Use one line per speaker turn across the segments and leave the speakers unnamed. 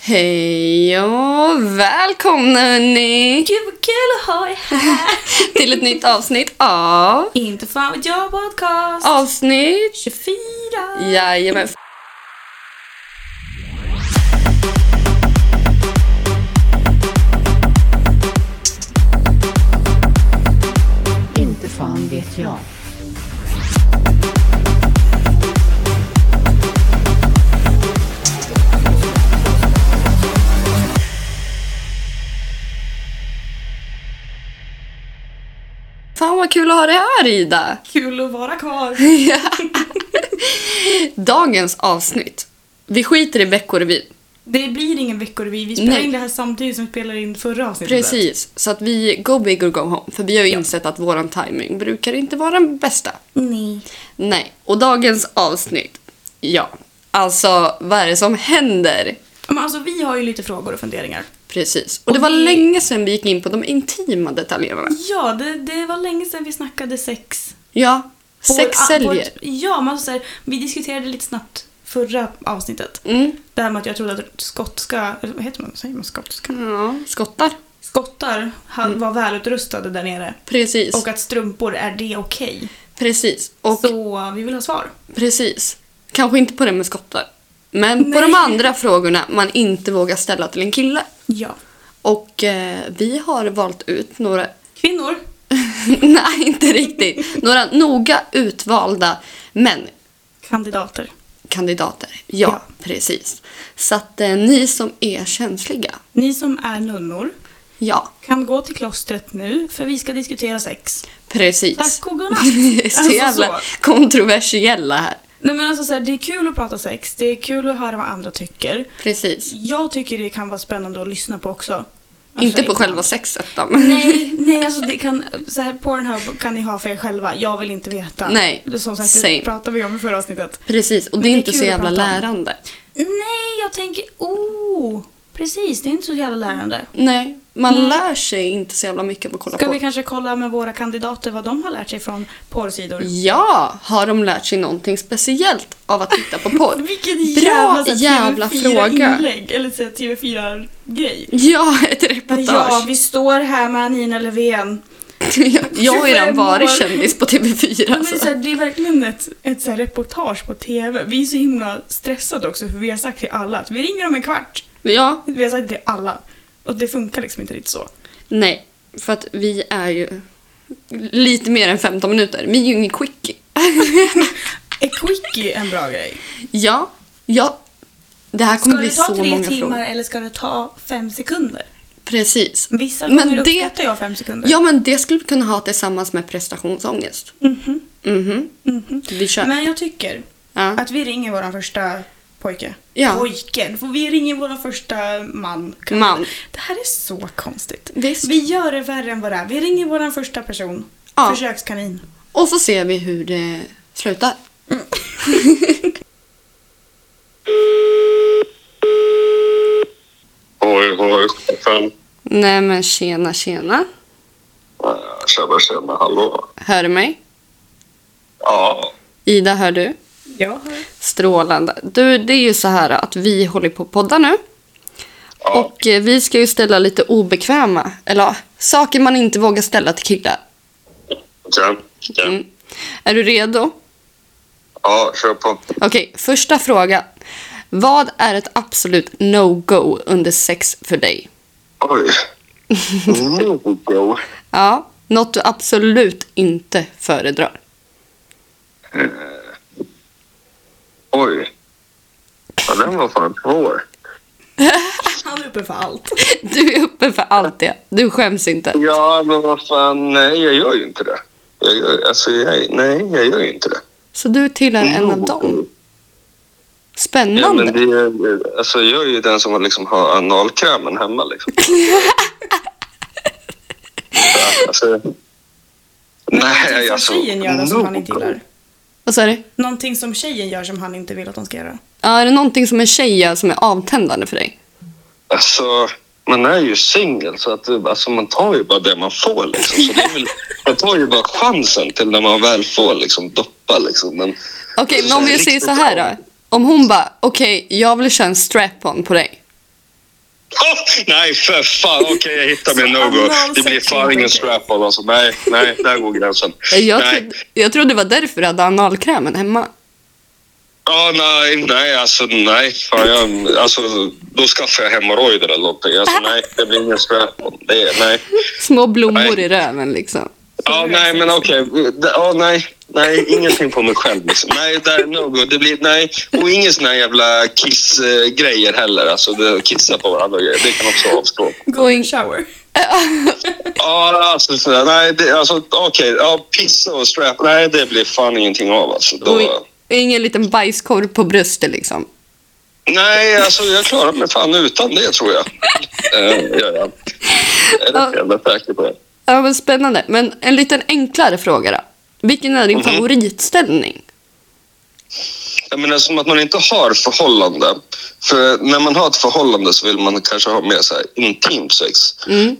Hej och välkomna hörni!
Gud vad kul att ha er här!
Till ett nytt avsnitt av
Inte fan vad jag podcast!
avsnitt
24!
Jajamän.
Inte fan vet jag.
Fan vad kul att ha dig här Ida!
Kul att vara kvar!
Dagens avsnitt. Vi skiter i veckorevyn.
Det blir ingen veckorevy, vi spelar
Nej.
in det här samtidigt som vi spelar in förra avsnittet.
Precis, så att vi go big or go home. För vi har ju insett att våran timing brukar inte vara den bästa.
Nej.
Nej, och dagens avsnitt. Ja, alltså vad är det som händer?
Men alltså vi har ju lite frågor och funderingar.
Precis, och det var
vi-
länge sedan vi gick in på de intima detaljerna.
Ja, det, det var länge sedan vi snackade sex.
Ja,
På-
sex
a- på ett-
säljer.
Ja, men alltså, så här, vi diskuterade lite snabbt förra avsnittet.
Mm.
Det här med att jag trodde att skotska, eller vad heter man, säger man skotska?
Ja, skottar.
Skottar ha- var välutrustade där nere.
Precis.
Och att strumpor, är det okej?
precis. Och
Så vi vill ha svar.
precis. Kanske inte på det med skottar. Men på
Nej.
de andra frågorna man inte vågar ställa till en kille.
Ja.
Och eh, vi har valt ut några,
Kvinnor.
nej inte riktigt, några noga utvalda män.
Kandidater.
Kandidater. Ja,
Ja.
precis. Så att eh, ni som är känsliga,
Ni som är nunnor
ja,
kan gå till klostret nu för vi ska diskutera sex.
precis.
Tack och godnatt.
Vi är så
Alltså,
jävla
så.
kontroversiella här.
Nej men alltså så här, det är kul att prata sex, det är kul att höra vad andra tycker.
Precis.
Jag tycker det kan vara spännande att lyssna på också. Alltså,
inte på
ibland.
själva sexet då. men-
Nej, nej alltså det kan, så här, Pornhub kan ni ha för er själva, jag vill inte veta.
Nej,
Det- Som sagt,
same.
det pratade vi om i förra avsnittet.
Precis, och det
Men
är
det är
inte så
kul att
jävla
prata om.
lärande.
Nej, jag tänker, oh, precis, det är inte så jävla lärande.
Nej, man
Mm.
lär sig inte så jävla mycket av att kolla
Ska
på.
vi kanske kolla med våra kandidater vad de har lärt sig från porrsidor?
Ja, har de lärt sig någonting speciellt av att titta på porr?
Vilken
Bra
jävla, så här
jävla fråga.
TV4-inlägg eller så här TV4-grej.
Ja, ett reportage.
Ja, vi står här med Nina Löfven.
jag har ju redan
25
varit
år.
kändis på TV4.
Men det, är så
Alltså.
här, det är verkligen ett, ett så här reportage på TV. Vi är så himla stressade också för vi har sagt till alla att vi ringer om en kvart.
Ja,
Vi har sagt till alla. Och det funkar liksom inte riktigt så.
nej, för att vi är ju lite mer än 15 minuter. Vi är ju ingen quickie.
Är quickie en bra grej?
Ja, ja. Det här
Ska
kommer bli
det ta
så
tre
många
timmar
frågor.
eller ska det ta fem sekunder?
Precis.
Vissa
Men
gånger
det-
uppskattar jag fem sekunder.
Ja, men det skulle vi kunna ha tillsammans med prestationsångest.
Mhm,
Mhm,
mhm.
vi kör.
Men jag tycker
ja.
Att vi ringer vår första pojke.
Ja.
Pojken! Får vi ringer vår första man. kund.
Man.
Det här är så konstigt.
Visst.
Vi gör det värre än vad det är. Vi ringer vår första person.
Ja.
Försökskanin.
Och så ser vi hur det slutar.
Oj, oj, fan.
Nej men tjena tjena.
Eh, Tjena, tjena, hallå.
Hör du mig?
Ja,
Ida hör du?
Ja.
Strålande. Du det är ju så här att vi håller på att podda nu.
ja.
Och eh, vi ska ju ställa lite obekväma, eller ja, saker man inte vågar ställa till killar.
Okej. okej.
Mm. Är du redo?
Ja, kör på.
Okej, första frågan. Vad är ett absolut no-go under sex för dig?
Oj. No-go.
Ja, något du absolut inte föredrar.
Oj. Ja, den var fan svår.
Han är uppe för allt.
Du är uppe för allt det. Du skäms inte.
Ja, men vad fan. Nej, jag gör ju inte det. Jag gör, alltså, jag, nej, jag gör ju inte det.
Så du tillhör en av dem.
Ja, men det
Spännande.
är, alltså, jag är ju den som har liksom har analkrämen hemma. Liksom. Ja, alltså,
Någonting
nej,
som
alltså.
tjejen gör som han inte
no-go.
gillar.
Vad sa du?
Någonting som tjejen gör som han inte vill att de ska göra.
Ja, är det någonting som en tjej gör som är avtändande för dig?
Alltså, man är ju singel så att alltså, man tar ju bara det man får liksom. Så det är väl, man tar ju bara chansen till när man väl får liksom doppa liksom. Men,
Okej, men om vi säger så här då. Om hon bara, okej, jag vill köra en strap-on på dig.
nej, för fan. Okej, jag hittar min
Så
no-go.
Alltså,
Det blir
analsex
fan ingen
inte.
strap-on. Alltså, nej, nej, där går gränsen.
Eh, Jag,
nej.
trodde, jag trodde det var därför du hade analkrämen hemma.
Ja, nej, nej, alltså nej. Fan, jag, alltså, då skaffar jag hemorrojder eller någonting. Alltså, nej, det blir ingen strap-on. Det, nej.
Små blommor
Nej.
i röven liksom.
Ja, nej, men okej. Ja, nej. Nej, ingenting på mig själv. Liksom. Nej, där, no good. Det blir, nej. Och ingen sån här jävla kiss-grejer heller. Alltså, det- kissa på varandra och grejer. Det kan också avstå.
Golden shower.
Ja, alltså, så där, nej, det, alltså okej. Ja, pissa och strap. Nej, det blir fan ingenting av alltså. Då,
Och i- ingen liten bajskorv på bröstet liksom.
Nej, alltså jag klarar mig fan utan det tror jag. Eh, gör jag. Jag är rätt jävla säker på det.
Ja, men spännande. Men en liten enklare fråga då. Vilken är din
Mhm.
favoritställning?
Jag menar som att man inte har förhållande. För när man har ett förhållande så vill man kanske ha mer så här intimt sex.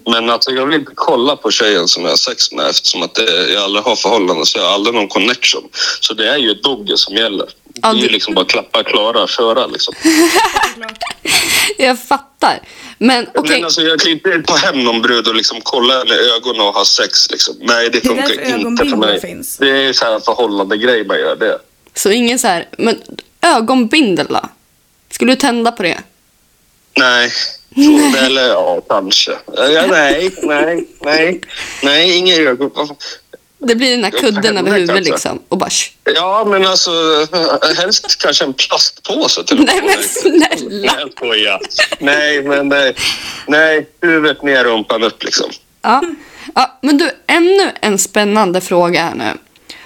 Men alltså jag vill inte kolla på tjejen som jag har sex med eftersom att det, jag aldrig har förhållande så jag har aldrig någon connection. Så det är ju dogge som gäller. Det är ju
du-
liksom bara klappa, klara, köra liksom.
Såklart.
Jag fattar. Men okej,
Men alltså jag kan inte ta hem någon brud och liksom kolla henne i ögonen och ha sex liksom. Nej det
Det är
funkar
därför
inte för
ögonbindlar
mig.
finns.
Det är ju så här förhållande grej man gör det.
så ingen så här... Men ögonbindel då? Skulle du tända på det?
Nej. Eller ja, kanske. Ja, nej, nej, nej, nej, inga ögon.
Det blir den här
Ja,
kudden över
helvete,
huvudet
alltså.
liksom. Och bara... "Sch."
Ja, men alltså helst kanske en plastpåse till och
Nej
med.
men snälla!
Nej, jag skojar. Nej, men nej. Nej, huvudet ner, rumpan upp liksom.
Ja. ja, men du, ännu en spännande fråga här nu.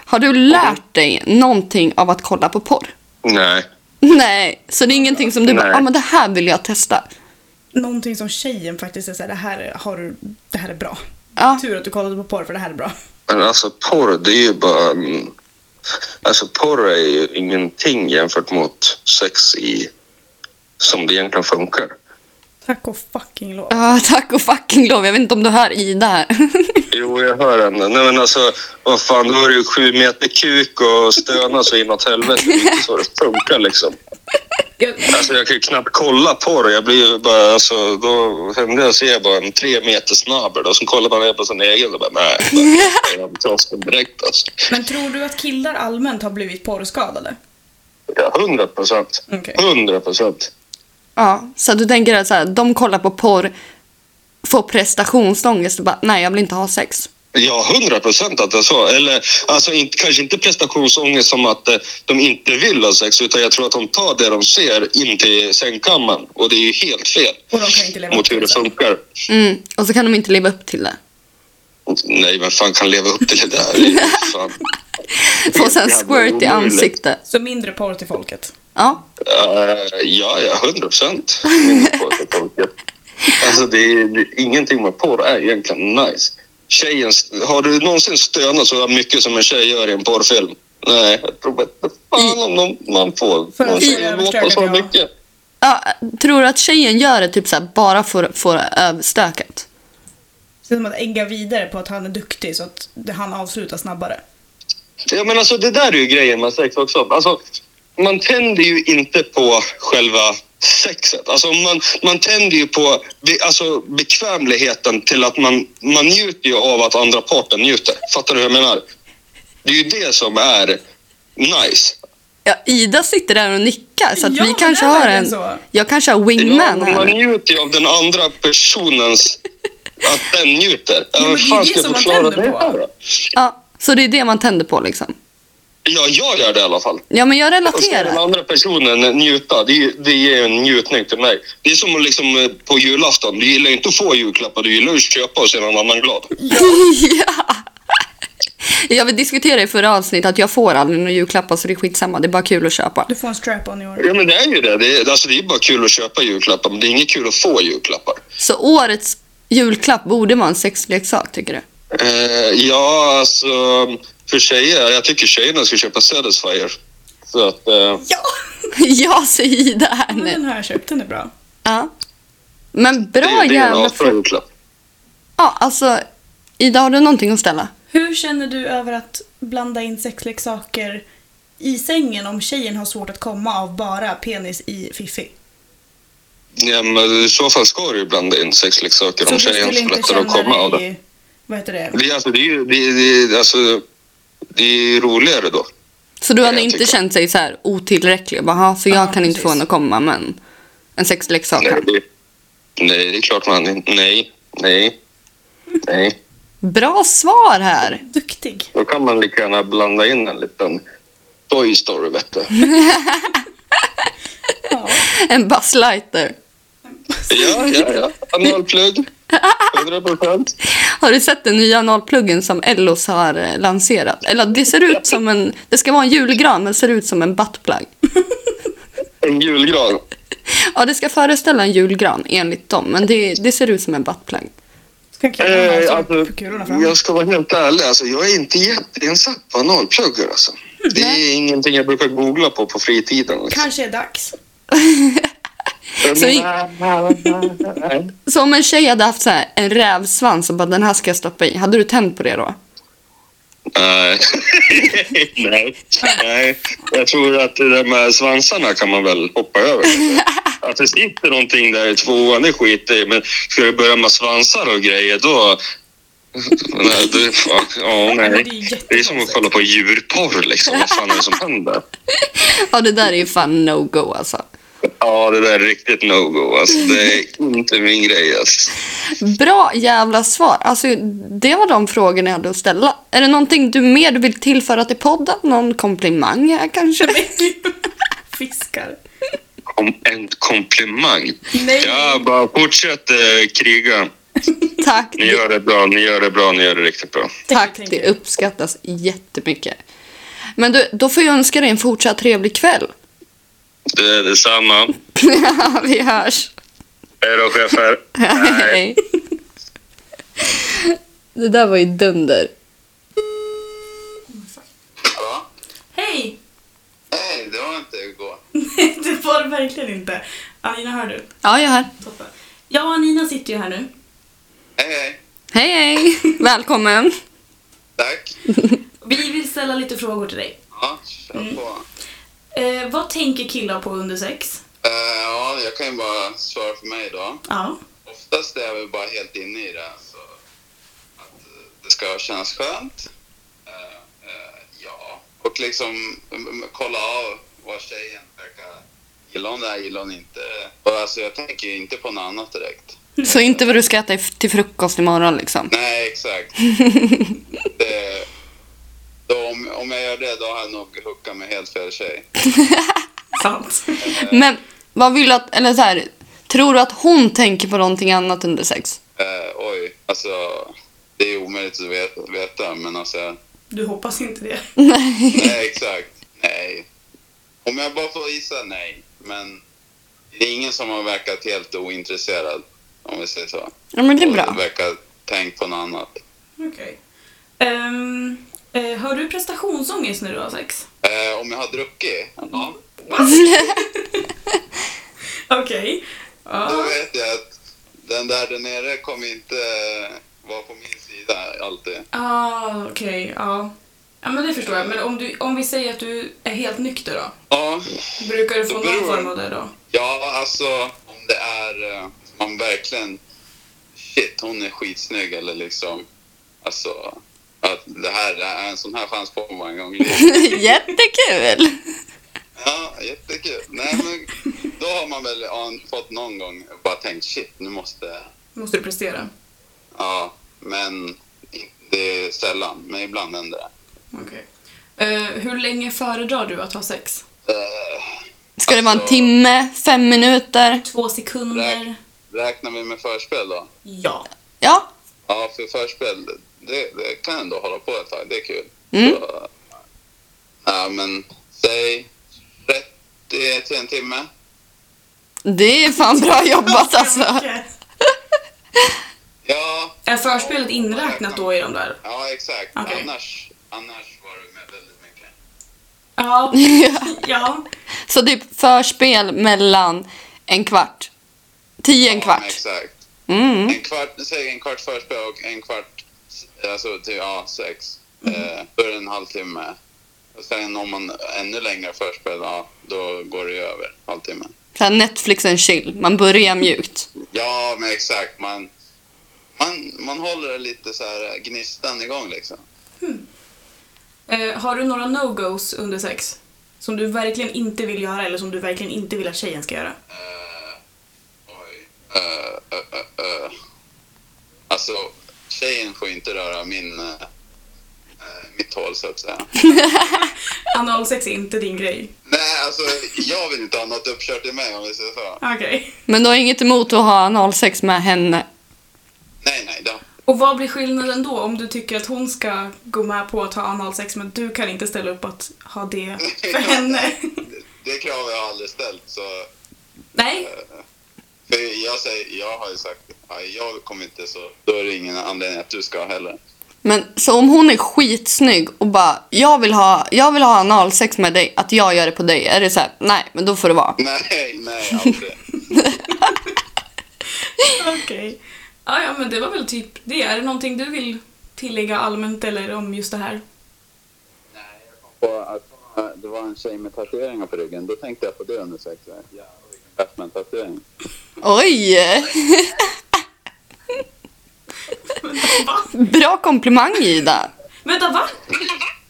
Har du lärt dig någonting av att kolla på porr?
Nej.
Nej, så det är ingenting som du bara,
Nej.
ah, men det här vill jag testa.
Någonting som tjejen faktiskt är såhär, det här, har, du- det här är bra.
Ja.
Tur att du kollade på porr för det här är bra.
Men alltså porr, det är ju bara... en- Alltså porr är ju ingenting jämfört mot sex i... Som det egentligen funkar.
Tack och fucking lov.
Ja, tack och fucking lov. Jag vet inte om du hör Ida här.
Jo, jag hör henne. Nej, men alltså, vad fan, då är det ju sju meter kuk och stöna så inåt helvete. Det är inte så det funkar liksom.
Jag,
Alltså, jag kan ju knappt kolla på det. Jag blir ju bara, alltså, då händer jag ser jag bara en tre meter snabel och så kollar man ner på sin egen och bara nej, jag är torsken direkt alltså.
men tror du att killar allmänt har blivit porrskadade?
Ja, hundra procent.
Okej.
Hundra procent.
ja, så du tänker att så här, de kollar på porr, får prestationsångest och bara, nej, jag vill inte ha sex.
Ja, hundra procent att det är så. Eller alltså, inte, kanske inte prestationsångest som att eh, de inte vill ha sex utan jag tror att de tar det de ser in till sängkammaren och det är ju helt fel
Och de kan inte leva upp
mot hur
till
det
det.
funkar.
Mm. Och så kan de inte leva upp till det.
Nej, vem fan kan leva upp till det där? Det är ju fan.
Får sen
Jävla
squirt i
omöjligt.
ansiktet.
Så mindre porr till folket.
Ja,
Eh, ja, ja, hundra procent. Alltså, det är, det är ingenting med porr är egentligen nice. Tjejen, har du någonsin stönat så mycket som en tjej gör i en porrfilm? Nej, jag tror inte fan om någon, man får
För
någon
att
tjej
överträda
låta så
det, ja.
mycket.
Ja, tror du att tjejen gör det typ så här, bara för att få det över stöket?
Så som att ägga vidare på att han är duktig så att det- han avslutar snabbare.
Ja, men alltså det där är ju grejen med sex också. Alltså, man tänder ju inte på själva sexet. Alltså man, man tänder ju på be, alltså, bekvämligheten till att man, man njuter ju av att andra parten njuter. Fattar du hur jag menar? Det är ju det som är nice.
Ja, Ida sitter där och nickar så att
Ja,
vi
det
kanske
är
har
verkligen
en...
så.
Jag kanske har
Ja,
wingman
men man
här.
njuter ju av den andra personens... Att den njuter. Ja,
men
men
det är
fan
det
ska
som
jag
man
förklara
tänder
det
på.
här då?
Ja, så det är det man tänder på liksom.
Ja, jag gör det i alla fall.
Ja, men jag
Och ska den
relaterar.
andra personen njuta, det, är- det ger en njutning till mig. Det är som att liksom eh, på julafton, du gillar ju inte att få julklappar, du gillar ju att köpa och se någon annan glad.
ja. Jag vill diskutera i förra avsnittet att jag får aldrig några julklappar så det är skitsamma. Det är bara kul att köpa.
Du får en strap-on i år.
Ja men det är ju det, det är, alltså, det är bara kul att köpa julklappar men det är inget kul att få julklappar.
Så årets julklapp borde vara en sexleksak tycker du?
Eh, ja alltså, för tjejer, jag tycker tjejerna ska köpa Satisfyer. Så att, eh,
Ja!
ja, säger Ida här
Men den
nu.
har jag köpt, den är bra.
Ja. Men
det,
bra
är- det är en
jävla
asbra julklapp.
Ja, alltså Ida, har du någonting att ställa?
Hur känner du över att blanda in sexleksaker i sängen om tjejen har svårt att komma av bara penis i fiffi?
Ja, men I så fall ska du ju blanda in sexleksaker om tjejen lättare att komma av det.
Vad heter det?
Det, är alltså, det, är ju, det, är- det, är- alltså, det är ju roligare då.
Så du hade
jag
inte
tycker.
känt sig så här otillräcklig? Bara, "Jaha, för jag
Ja,
kan inte få
precis.
henne att komma, men en sexleksak
Nej,
kan.
det, nej, det är klart man... Nej, nej, nej.
Bra svar här!
Duktig.
Då kan man lika gärna blanda in en liten Toy Story, vet du.
Ja.
En Buzz Lightyear.
Ja, ja, ja. Analplugg. 100 procent.
Har du sett den nya nollpluggen som Ellos har eh, lanserat? Eller det ser ut som en... Det ska vara en julgran, men ser ut som en buttplug.
En julgran.
Ja, det ska föreställa en julgran enligt dem, men det, det ser ut som en buttplug.
Ska jag kalla
Eh,
eh,
alltså,
alltså, kulorna fram?
jag ska vara helt ärlig, alltså, jag är inte jätteinsatt på analpluggar. Alltså. Det är ingenting jag brukar googla på på fritiden. Liksom.
Kanske är dags.
Så i- Så om en tjej hade haft så här en rävsvans och bara den här ska jag stoppa i, hade du tänt på det då?
Nej. Nej. Nej. Jag tror att det där med svansarna kan man väl hoppa över. Att det sitter någonting där i tvåan, det skiter jag i. Men ska du börja med svansar och grejer, då... Nej, det, fan, ja,
Det är
nej.
jättekonstigt.
Det är som att kolla på djurporr liksom. Vad fan är det som händer?
Ja, det där är ju fan no-go alltså.
Ja, det där är riktigt no-go. Alltså, det är inte min grej. Alltså.
Bra jävla svar. Alltså, det var de frågorna jag hade att ställa. Är det någonting du mer du vill tillföra till podden? Någon komplimang här kanske?
Fiskar.
Kom, en komplimang.
Nej.
Ja, bara fortsätt eh, kriga.
Tack,
Ni gör det bra, ni gör det bra, ni gör det riktigt bra.
tack.
tänker
Det
jag.
uppskattas jättemycket. Men du, då får jag önska dig en fortsatt trevlig kväll.
Det är detsamma.
Vi hörs.
Hej då chefer.
Hej. Det där var ju dunder.
Hej!
Nej, det var inte Hugo.
Nej, det var det verkligen inte. Anina, hör du?
Ja, jag är här.
Toppen. Jag och Anina sitter ju här nu.
Hej, hej.
Hej, hej. Välkommen.
Tack.
Vi vill ställa lite frågor till dig.
Ja, kör på.
Eh, vad tänker killar på under sex?
Eh, ja, jag kan ju bara svara för mig då.
Ja.
Oftast är jag väl bara helt inne i det. Så att eh, det ska kännas skönt. Eh, eh, ja. Och liksom mm, mm, kolla av vad tjejen verkar... Gillar hon det här, gillar hon inte? Och alltså jag tänker ju inte på något annat direkt.
Så inte vad du ska äta i- till frukost imorgon liksom.
Nej, exakt. det, då, om, om jag gör det, då har jag nog hookat med helt fel tjej.
Sant.
Men vad vill du att, eller så här, tror du att hon tänker på någonting annat under sex?
Eh, oj, alltså det är omöjligt att veta, veta men alltså,
Du hoppas inte det.
Nej.
nej exakt, nej. Om jag bara får gissa, nej. Men det är ingen som har verkat helt ointresserad, om vi säger så.
Ja, men det är
Och
bra.
verkar tänkt på något annat.
Okej. eh, har du prestationsångest när du har sex?
Eh, om jag har druckit, ja,
Okej.
då
Ja.
vet jag att den där där nere kommer inte vara på min sida alltid.
Ah, okej. Ja. Ja, men det förstår jag. Men om, du, om vi säger att du är helt nykter då?
Ja,
Brukar du få
Det
någon
beror.
form av det då?
Ja, alltså om det är eh, man verkligen shit, hon är skitsnygg eller liksom alltså att det här det här är en sån här chans på mig en gång i livet.
Jättekul!
Ja, jättekul. Nej, men då har man väl ja, fått någon gång bara tänkt shit, nu måste
Måste du prestera?
ja, men det är sällan, men ibland händer det.
Okej. Eh, hur länge föredrar du att ha sex?
Eh,
Ska det vara en
Alltså-
timme, fem minuter?
Två sekunder?
räk, räknar vi med förspel då?
Ja.
Ja,
Ja, för förspel, det, det kan ändå hålla på ett tag. Det är kul.
Mm.
Så, ja, men säg 30 till en timme.
det är fan bra jobbat alltså.
Ja,
Är förspelet inräknat då i de där?
ja exakt.
Okej.
Annars, annars var det med väldigt mycket.
Ja. ja.
Så typ förspel mellan en kvart. Tio en
Ja,
kvart.
exakt.
Mm.
En kvart, säg en kvart förspel och en kvart, alltså till, ja, sex.
Mm.
Eh, då är det en halvtimme. Och sen om man ännu längre förspel, ja, då går det ju över halvtimmen.
Så här Netflix and chill. Man börjar mjukt.
Ja, men exakt. Man, man, man håller lite så här gnistan igång liksom.
Eh, har du några no-goes under sex? Som du verkligen inte vill göra eller som du verkligen inte vill att tjejen ska göra?
Eh, Oj. Eh, Ö, ö, ö, ö. Alltså, tjejen får inte röra min, eh, eh, mitt hål så att säga.
Analsex är inte din grej.
Nej, alltså jag vill inte ha något uppkört i mig om vi säger så.
Okej.
Men du har inget emot att ha analsex med henne?
Nej, nej, då.
Och vad blir skillnaden då om du tycker att hon ska gå med på att ha analsex men du kan inte ställa upp att ha det för henne?
Det, det kravet har jag aldrig ställt. Så,
Nej,
för jag, säger, jag har ju sagt ja, jag kommer inte så, då är det ingen anledning att du ska heller.
Men så om hon är skitsnygg och bara jag vill ha, jag vill ha analsex med dig, att jag gör det på dig. Är det så här, nej men då får det vara.
Nej, nej, aldrig.
okej. Ja, ja, men det var väl typ det. Är det någonting du vill tillägga allmänt eller om just det här?
Och att det var en tjej med tatueringar på ryggen, då tänkte jag på det under sex år. Jävlar vilken Batman-tatuering.
Oj! Bra komplimang Ida.
Vänta, va?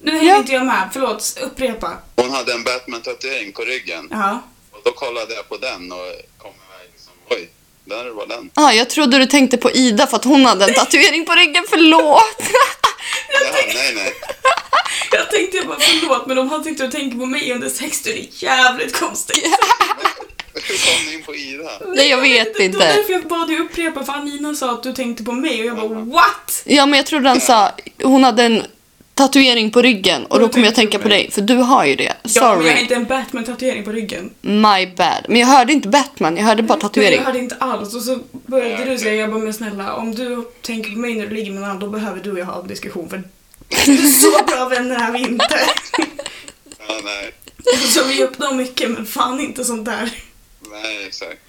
Nu hänger
Ja.
inte jag med. Förlåt, upprepa.
Hon hade en Batman-tatuering på ryggen.
Ja.
Och då kollade jag på den och kom iväg liksom, oj, där var den.
Ah, jag trodde du tänkte på Ida för att hon hade en tatuering på ryggen, förlåt.
Jaha, nej, nej.
Jag tänkte bara förlåt, men om han tyckte och tänkte på mig under sex, då är det jävligt konstigt.
Hur kom ni in på Ida?
Nej jag vet
Det var
inte.
därför jag bad dig upprepa, för Anina sa att du tänkte på mig och jag bara what?
Ja men jag trodde han sa, hon hade en tatuering på ryggen och då kommer jag tänka på dig för du har ju det.
Ja, men jag har
Sorry.
inte en Batman-tatuering på ryggen.
My bad. Men jag hörde inte Batman, jag hörde bara
Men
tatuering.
jag hörde inte alls och så började du säga, jag bara men snälla om du tänker på mig när du ligger med någon annan då behöver du och jag ha en diskussion för så bra vänner är vi inte.
Ja, nej.
Så vi uppnår mycket men fan inte sånt där.
Nej, exakt.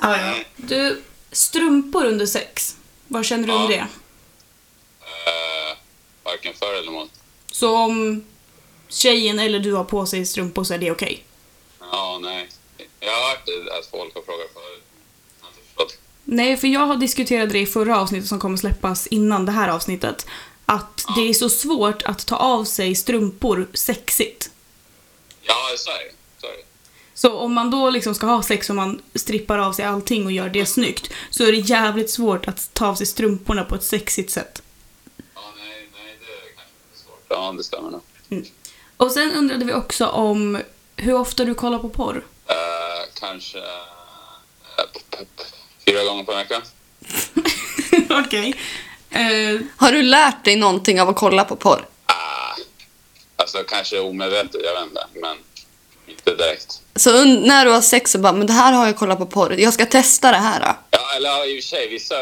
Ja, ja. Du, strumpor under sex, vad känner du om
Ja.
det?
Eh, varken för eller emot.
Så om tjejen eller du har på sig strumpor så är det okej?
Ja, nej. Jag har hört det att folk har frågat förut. Jag har inte förstått.
Nej, för jag har diskuterat det i förra avsnittet som kommer släppas innan det här avsnittet. Att det är så svårt att ta av sig strumpor sexigt.
Ja, sorry. sorry.
Så om man då liksom ska ha sex och man strippar av sig allting och gör det snyggt så är det jävligt svårt att ta av sig strumporna på ett sexigt sätt.
Ja, nej, nej, det är kanske lite svårt. Ja, det stämmer nog.
Och sen undrade vi också om hur ofta du kollar på porr.
Eh, kanske eh, p- p- p- fyra gånger per vecka.
Okej. Eh,
Har du lärt dig någonting av att kolla på porr?
Ah, alltså kanske omedvetet, jag vet inte. Men inte direkt.
Så un- när du har sex så bara, men det här har jag kollat på porr. Jag ska testa det här. Då.
Ja, eller ja, i och för sig, vissa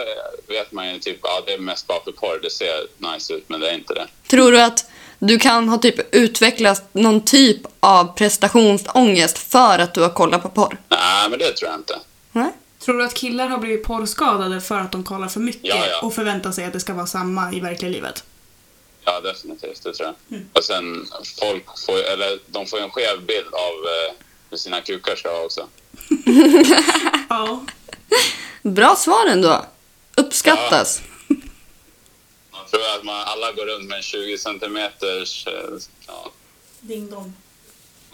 vet man ju typ, ja det är mest bara för porr, det ser nice ut men det är inte det.
Tror du att du kan ha typ utvecklat någon typ av prestationsångest för att du har kollat på porr?
Nej, men det tror jag inte.
Nej?
tror du att killar har blivit porrskadade för att de kollar för mycket
Ja, ja.
och förväntar sig att det ska vara samma i verkliga livet?
Ja, definitivt, det tror jag. Och sen, folk får eller de får ju en skev bild av eh, hur sina kukar ska vara också.
Ja.
Bra svar ändå. Uppskattas.
Man tror att man, alla går runt med en 20 centimeters, eh, ja,
Ding dong.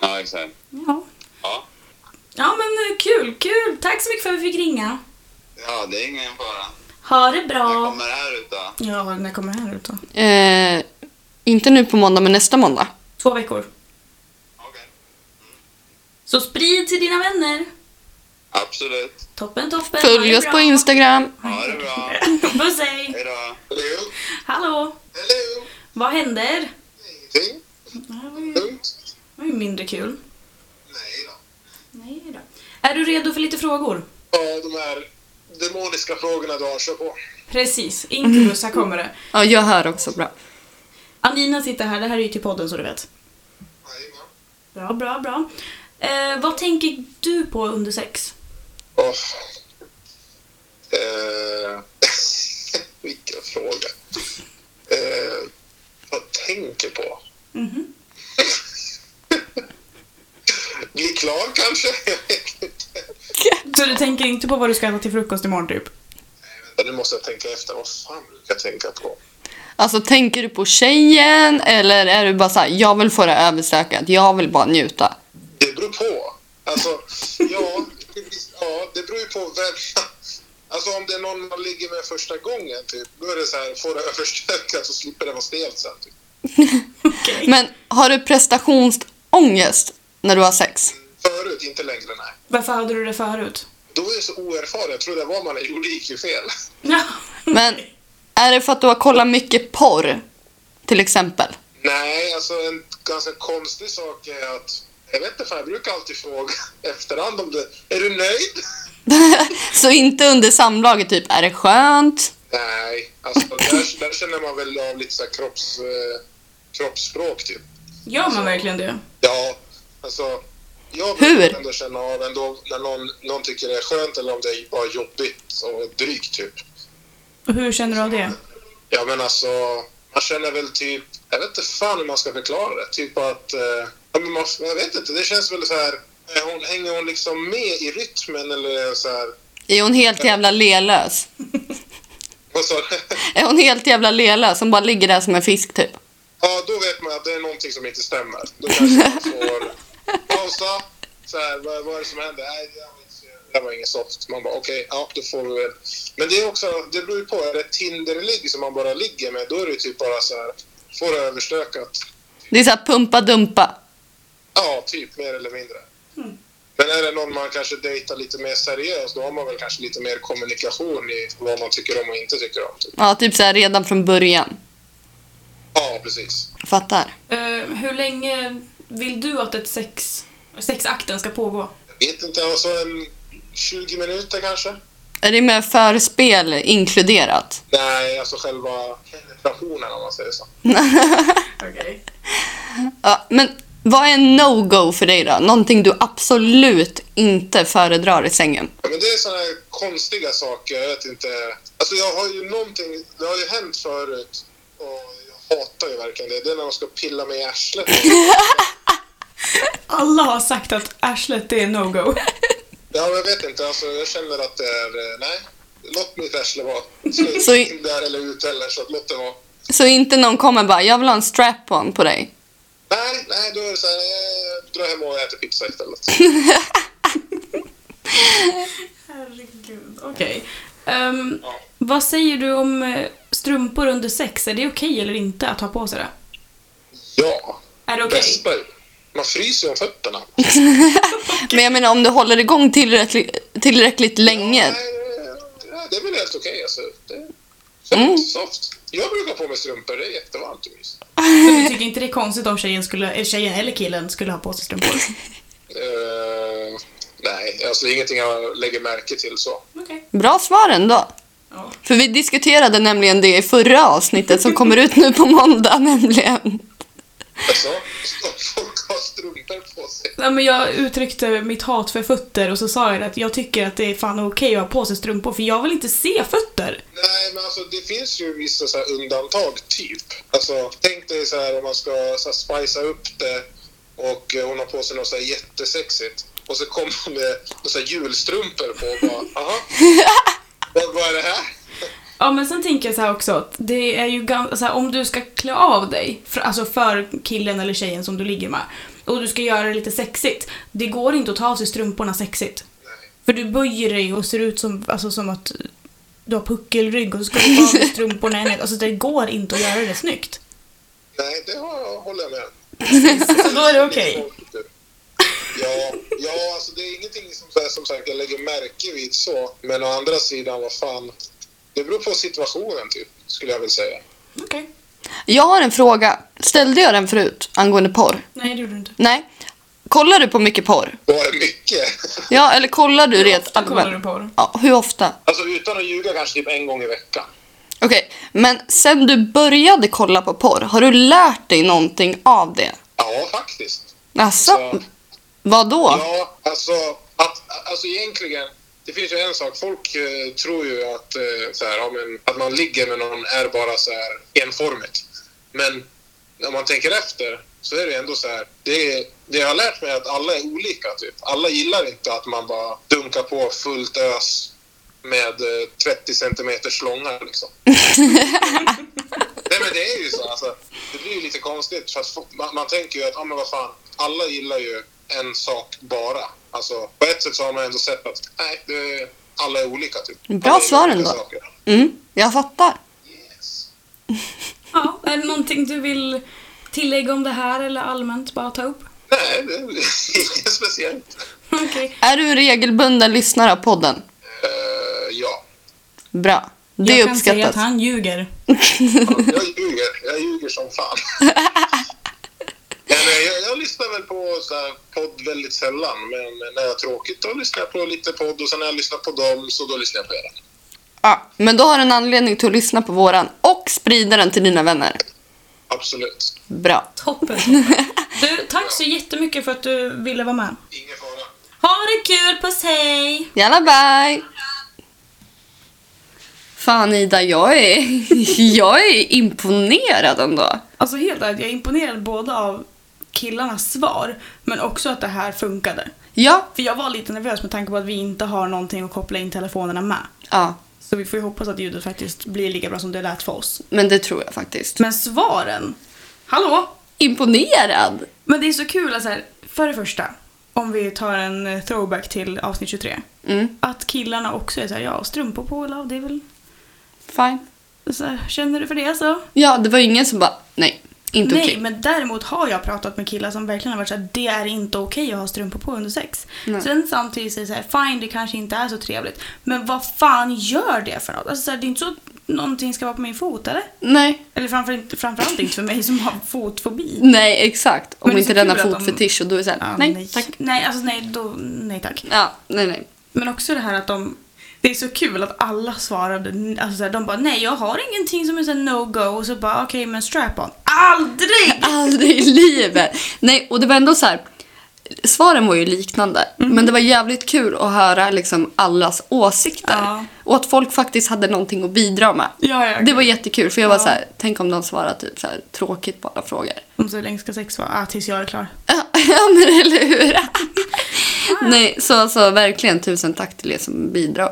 ja exakt.
Ja.
Ja.
Ja men eh, kul, kul. Tack så mycket för att vi fick ringa.
ja, det är ingen fara.
Ha det
Jag
bra.
kommer här ut då.
Ja, när kommer det här ut då?
Eh, inte nu på måndag, men nästa måndag.
Två veckor.
Okej.
Så sprid till dina vänner.
Absolut.
Toppen, toppen. Ha
Följ
det
oss
bra.
på Instagram.
Ha det bra.
Puss hej.
Hej då. Hello.
Hallå.
Hello.
Vad händer?
Ingenting.
Det här var ju-
Lugnt.
det var ju mindre kul.
Nej då.
Nej då. Är du redo för lite frågor?
Ja, Eh, de här demoniska frågorna du har, kör på.
Precis.
Mm.
Incubus, här kommer det.
Ja, jag hör också bra.
Anina sitter här. Det här är ju till podden så du vet.
Jajamän.
Bra, bra, bra. Eh, vad tänker du på under sex?
Åh. Eh, vilken fråga. Eh, vad tänker på?
Mhm.
Bli klar kanske? Jag vet inte.
Så du tänker inte på vad du ska äta till frukost imorgon typ?
Vänta, nu måste jag tänka efter. Vad fan brukar jag tänka på?
Alltså tänker du på tjejen eller är du bara så här, jag vill få det överstökat, jag vill bara njuta?
Det beror på. Alltså, ja, ja det beror ju på vem... Alltså om det är någon man ligger med första gången, typ, då är det så här, får det överstökat så slipper det vara stelt sen. Typ.
Men har du prestationsångest när du har sex?
Förut, inte längre, nej.
Varför hade du det förut?
Då är jag så oerfaren, jag trodde det var man gjorde IQ-fel.
Ja.
Men är det för att du har kollat mycket porr? Till exempel.
Nej, alltså en ganska konstig sak är att jag vet inte, fan, jag brukar alltid fråga efterhand om det. Är du nöjd?
Så inte under samlaget typ, är det skönt?
Nej, alltså där, där känner man väl av lite så här kropps, eh, kroppsspråk typ.
Gör man verkligen det?
Ja, alltså. Jag
Hur?
brukar ändå känna av ändå när någon, någon tycker det är skönt eller om det är bara jobbigt och drygt typ.
Och hur känner du av det?
Ja men alltså, man känner väl typ, jag vet inte fan hur man ska förklara det. Typ att, eh, ja, men man, jag vet inte, det känns väl så här, är hon, hänger hon liksom med i rytmen eller så här,
Är hon helt jävla lelös?
vad sa du?
Är hon helt jävla lelös som bara ligger där som en fisk typ?
Ja, då vet man att det är någonting som inte stämmer. Då kanske man får pausa. Så här, vad, vad är det som händer? Nej, det var inte- det var inget soft. Man bara okej, ja då får vi väl. Men det är också, det beror ju på. Är det ett Tinder-ligg som man bara ligger med, då är det ju typ bara så här, får det överstökat.
Det är så här pumpa dumpa.
Ja, typ mer eller mindre. Men är det någon man kanske dejtar lite mer seriöst, då har man väl kanske lite mer kommunikation i vad man tycker om och inte tycker om. Typ.
Ja, typ så här redan från början.
Ja, precis.
Fattar.
Eh, hur länge vill du att ett sex, sexakten ska pågå?
Jag vet inte, alltså en 20 minuter kanske?
Är det med förspel inkluderat?
Nej, alltså själva penetrationen om man säger så.
Okej.
Ja, men vad är en no-go för dig då? Någonting du absolut inte föredrar i sängen?
Ja, Men det är sådana här konstiga saker, jag vet inte. Alltså jag har ju någonting, det har ju hänt förut och jag hatar ju verkligen det. Det är när man ska pilla mig i arslet.
Alla har sagt att arslet är no-go.
Ja, men jag vet inte, alltså jag känner att det är, eh, nej. Låt mitt arsle vara. Ska
Så i-
inte in där eller ut heller, så att låt det vara.
Så inte någon kommer bara, jag vill ha en strap-on på dig.
Nej, nej, då är det såhär, eh, dra hem och äta pizza istället.
Herregud. Okej. Ehm,
Ja.
Vad säger du om eh, strumpor under sex? Är det okej eller inte att ha på sig det?
Ja,
Är det okej?
bästa ju. Man fryser ju om fötterna.
Men jag menar om du håller igång tillräckligt, tillräckligt länge.
Nej, eh, ja, det är väl helt okej. Alltså. Det känns
Mm.
soft. Jag brukar ha på mig strumpor. Det är jättevarmt och mysigt.
Men Du tycker inte det är konstigt om tjejen, skulle, eller, tjejen eller killen skulle ha på sig strumpor?
Eh, nej, alltså det är ingenting jag lägger märke till så.
Okej.
Bra svar ändå.
Ja.
För vi diskuterade nämligen det i förra avsnittet som kommer ut nu på måndag nämligen.
Alltså, folk har strumpor på sig.
Nej, men jag uttryckte mitt hat för fötter och så sa jag att jag tycker att det är fan okej att ha på sig strumpor för jag vill inte se fötter.
Nej, men alltså det finns ju vissa så här undantag, typ. Alltså, tänk dig så här om man ska så här, spicea upp det och eh, hon har på sig något så här jättesexigt och så kommer hon med några så här julstrumpor på och bara, aha, vad, vad är det här?
Ja men sen tänker jag så här också att det är ju ganska, så här, om du ska klä av dig, för, alltså för killen eller tjejen som du ligger med och du ska göra det lite sexigt, det går inte att ta av sig strumporna sexigt. För du böjer dig och ser ut som, alltså, som att du har puckelrygg och så ska du ta av dig strumporna i nät. Alltså det går inte att göra det snyggt.
Nej, det har jag, håller jag med om.
Så då är det okej.
Ja, ja, alltså det är ingenting som, så här, som sagt jag lägger märke vid så. Men å andra sidan, vad fan. Det beror på situationen typ, skulle jag vilja säga.
Okej.
Jag har en fråga. Ställde jag den förut angående porr?
Nej det gjorde du inte.
Nej. Kollar du på mycket porr?
Var det mycket?
Ja, eller kollar du
Hur
rent
ofta kollar du
allmänt?
på det?
Ja, hur ofta?
Alltså utan att ljuga kanske typ en gång i veckan.
Okej, men sen du började kolla på porr, har du lärt dig någonting av det?
Ja, faktiskt.
Alltså,
Så-
vad då?
Ja, alltså, att, alltså egentligen. Det finns ju en sak. Folk eh, tror ju att, eh, så här, ja, men, att man ligger med någon är bara så här enformigt. Men när man tänker efter så är det ändå så här. Det, det jag har lärt mig är att alla är olika. Typ. Alla gillar inte att man bara dunkar på fullt ös med eh, 30 centimeters slångar. Liksom. Nej men det är ju så. Alltså, det blir ju lite konstigt. För att få- man, man tänker ju att, ah, men vad fan, alla gillar ju en sak bara. Alltså, på ett sätt så har man ändå sett att, nej, det, alla är olika. Typ.
Bra
Alla gillar
svar
olika
ändå.
saker.
Mm, jag fattar.
Yes.
Ja, är det någonting du vill tillägga om det här eller allmänt bara ta upp?
Nej, det är inget speciellt.
Okej.
Är du en regelbunden lyssnare av podden?
Eh, ja.
Bra. Det
Jag kan säga
uppskattas.
att han ljuger.
Jag ljuger. Jag ljuger som fan. Men, eh, jag, jag lyssnar väl på så här, podd väldigt sällan, men när jag har tråkigt då lyssnar jag på lite podd och sen när jag lyssnar på dem så då lyssnar jag på er.
Ja, men då har du en anledning till att lyssna på våran och sprida den till dina vänner.
Absolut.
Bra.
Toppen. Du, tack så jättemycket för att du ville vara med.
Ingen fara.
Ha det kul, puss hej!
Jalla bye! Fan Ida, jag är, jag är imponerad ändå.
Alltså helt ärligt, jag är imponerad både av killarnas svar, men också att det här funkade.
Ja.
För jag var lite nervös med tanke på att vi inte har någonting att koppla in telefonerna med.
Ja,
Så vi får ju hoppas att ljudet faktiskt blir lika bra som det lät för oss.
men det tror jag faktiskt.
Men svaren! Hallå?
Imponerad!
Men det är så kul att så här, för det första, om vi tar en eh, throwback till avsnitt 23.
Mm,
Att killarna också är såhär, ja strumpor på eller det är väl,
fine.
så här, känner du för det så?
Ja, det var ingen som bara, nej, inte
Nej,
okej.
men däremot har jag pratat med killar som verkligen har varit såhär, det är inte okej att ha strumpor på under sex.
Nej.
Sen samtidigt säger såhär, fine det kanske inte är så trevligt, men vad fan gör det för något? Alltså, så här, det är inte så att någonting ska vara på min fot eller?
Nej,
Eller framför, framförallt inte för mig som har fotfobi.
nej, exakt. Om
Men det är
inte
så
denna
kul att de-
fotfetisch och då är det så här,
Ja,
nej, tack.
Nej, alltså nej, då, nej tack.
Ja, nej, nej.
Men också det här att de det är så kul att alla svarade, alltså så här, de bara nej jag har ingenting som är såhär no-go och så bara okej men strap-on. Aldrig!
Aldrig i livet! Nej, och det var ändå så här. Svaren var ju liknande,
Mhm.
men det var jävligt kul att höra liksom allas åsikter.
Ja.
Och att folk faktiskt hade någonting att bidra med.
Ja, ja.
Det var jättekul, för jag var
Ja.
så här, tänk om de svarar typ så här, tråkigt på alla frågor.
Om så länge ska sex vara, ah, tills jag är klar.
Ja, men eller hur? Nej, så alltså verkligen tusen tack till er som bidrog.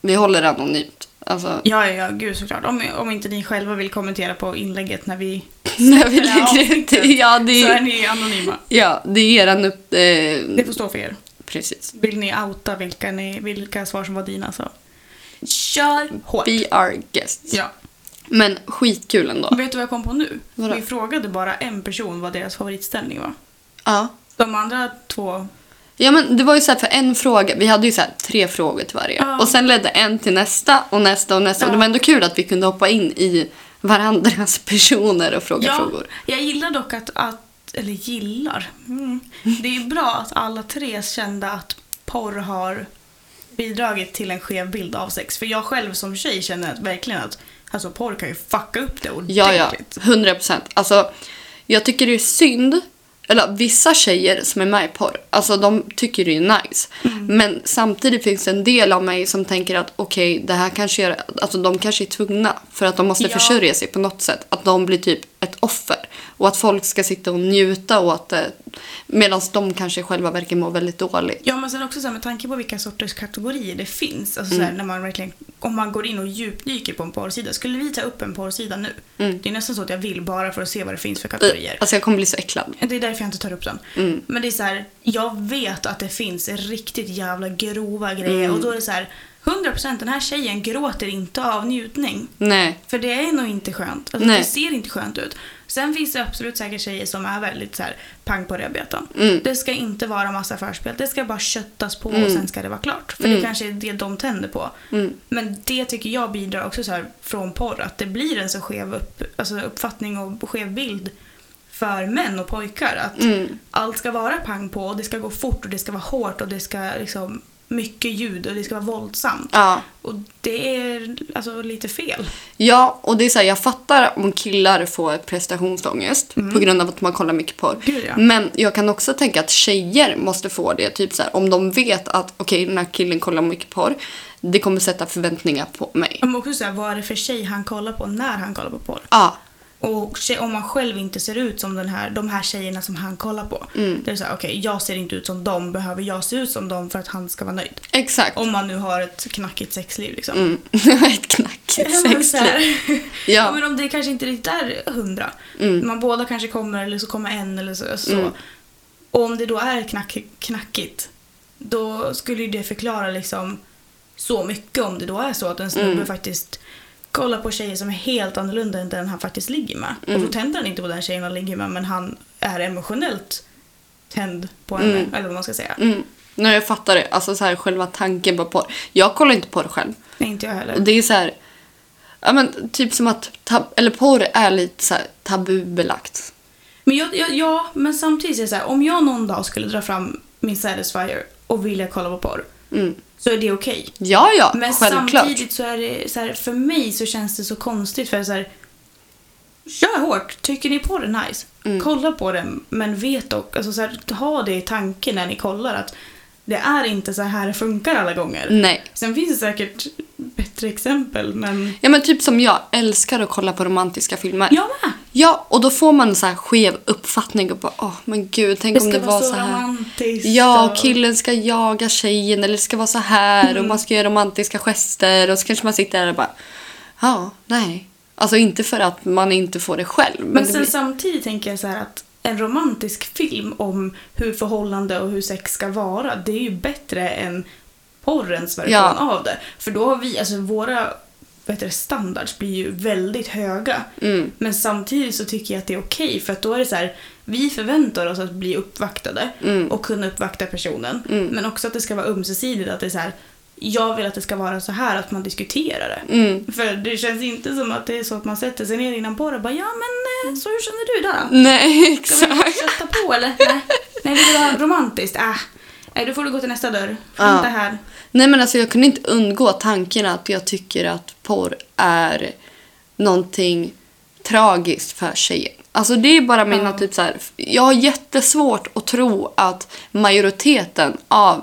Vi håller det anonymt. Alltså,
Ja, ja, ja, gud såklart. Om, om inte ni själva vill kommentera på inlägget när vi
när vi
det här
lägger ut det.
avsnittet,
Ja, det
så är
är,
ni anonyma.
ja, det är eran upp...
Det
Eh,
får stå för er.
precis.
Vill ni outa vilka, ni, vilka svar som var dina så kör hårt.
Be our guests.
Ja.
Men skitkul ändå.
Vet du vad jag kom på nu?
Vadå?
Vi frågade bara en person vad deras favoritställning var.
Ja.
De andra två
Ja men det var ju så här för en fråga, vi hade ju så här tre frågor till varje.
Ja.
Och sen ledde en till nästa och nästa och nästa. Och det
Ja.
var ändå kul att vi kunde hoppa in i varandras personer och fråga frågor.
Jag gillar dock att, att eller gillar, mm. det är bra att alla tre kände att porr har bidragit till en skev bild av sex. För jag själv som tjej känner att, verkligen att alltså, porr kan ju fucka upp det ordentligt.
Ja, ja. 100 procent. Alltså, jag tycker det är synd. Eller vissa tjejer som är med i porr, alltså de tycker det är nice. Men samtidigt finns det en del av mig som tänker att okej, det här kanske gör, alltså de kanske är tvungna för att de måste
Ja.
försörja sig på något sätt. Att de blir typ ett offer och att folk ska sitta och njuta åt det medan de kanske själva verkar må väldigt dåligt.
Ja men sen också så här, med tanke på vilka sorters kategorier det finns. Alltså,
Mm.
så här, när man verkligen, om man går in och djupdyker på en porrsida. Skulle vi ta upp en porrsida nu?
Mm.
Det är nästan så att jag vill bara för att se vad det finns för kategorier.
Alltså jag kommer bli så äcklad.
Det är därför jag inte tar upp den. Men det är så här, jag vet att det finns riktigt jävla grova grejer och då är det så här, 100% den här tjejen gråter inte av njutning.
Nej.
För det är nog inte skönt. Alltså,
Nej.
det ser inte skönt ut. Sen finns det absolut säkert tjejer som är väldigt så här, pang på rödbetan.
Mm.
Det ska inte vara massa förspel. Det ska bara köttas på och sen ska det vara klart. För
Mm.
det kanske är det de tänder på. Men det tycker jag bidrar också så här, från porr. Att det blir en så skev upp, alltså, uppfattning och skev bild för män och pojkar. Att
Mm.
allt ska vara pang på och det ska gå fort och det ska vara hårt och det ska liksom mycket ljud och det ska vara våldsamt.
Ja.
Och det är alltså lite fel.
Ja, och det är så här, jag fattar om killar får prestationsångest på grund av att man kollar mycket porr.
Mm. Gud, ja.
Men jag kan också tänka att tjejer måste få det. Typ så här, om de vet att okej, den här killen kollar mycket porr, det kommer sätta förväntningar på mig.
Men också såhär, vad är det för tjej han kollar på när han kollar på porr?
Ja,
Och tje- om man själv inte ser ut som den här, de här tjejerna som han kollar på. Mm. Det är så här, okej, jag ser inte ut som dem, behöver jag se ut som dem för att han ska vara nöjd?
Exakt.
Om man nu har ett knackigt sexliv liksom.
Mm. Ett knackigt
Ja, men så här.
sexliv.
Ja.
Ja,
Men om det kanske inte riktigt är hundra. Man båda kanske kommer eller så kommer en eller så. så.
Mm.
Och om det då är knack, knackigt, då skulle ju det förklara liksom så mycket om det då är så att en snubbe
Mm.
faktiskt kollar på tjejer som är helt annorlunda än den han faktiskt ligger med.
Mm.
Och då tänder han inte på den tjejen han ligger med men han är emotionellt tänd på henne, eller vad man ska säga.
mm. Nej, jag fattar det. Alltså så här, själva tanken på porr. Jag kollar inte porr själv.
Nej, inte jag
Och
heller.
det är så här, ja men typ som att tab- eller porr är lite så här tabubelagt.
Men jag, jag, ja, men samtidigt är det så här, om jag någon dag skulle dra fram min Satisfyer och vilja kolla på porr,
Mm.
så är det okej.
Ja, ja,
Men
självklart.
samtidigt så är det så här, för mig så känns det så konstigt för så här, kör hårt, tycker ni på det nice,
Mm.
kolla på den men vet dock, alltså så här, ha det i tanken när ni kollar att det är inte så här det funkar alla gånger.
Nej.
Sen finns det säkert bättre exempel men
Ja men typ som jag älskar att kolla på romantiska filmer.
jag med.
Ja, och då får man en så här skev uppfattning och bara åh men gud, tänk
Det
om
ska
det
vara
var
så
så här.
romantiskt.
Ja,
och- Mm.
killen ska jaga tjejen eller det ska vara så här och man ska göra romantiska gester och så kanske man sitter där och bara ja, nej. Alltså inte för att man inte får det själv. Men,
Men
det
sen
blir...
samtidigt tänker jag så här att en romantisk film om hur förhållande och hur sex ska vara, det är ju bättre än porrens version
Ja.
av det. För då har vi, alltså våra bättre standards blir ju väldigt höga.
Mm.
Men samtidigt så tycker jag att det är okej för att då är det så här, vi förväntar oss att bli uppvaktade
Mm.
och kunna uppvakta personen.
Mm.
Men också att det ska vara ömsesidigt, att det är så här, jag vill att det ska vara så här att man diskuterar det.
Mm.
För det känns inte som att det är så att man sätter sig ner innan porren och bara ja men
Mm.
eh, så hur känner du då?
Nej,
Ska vi
exakt.
kötta på eller? Nej, Nej vill du ha romantiskt? Äh. Nej, då får du gå till nästa dörr.
Ja.
Inte här.
Nej men alltså jag kunde inte undgå tanken att jag tycker att porr är någonting tragiskt för tjejer. Alltså det är bara mina typ så här, jag har jättesvårt att tro att majoriteten av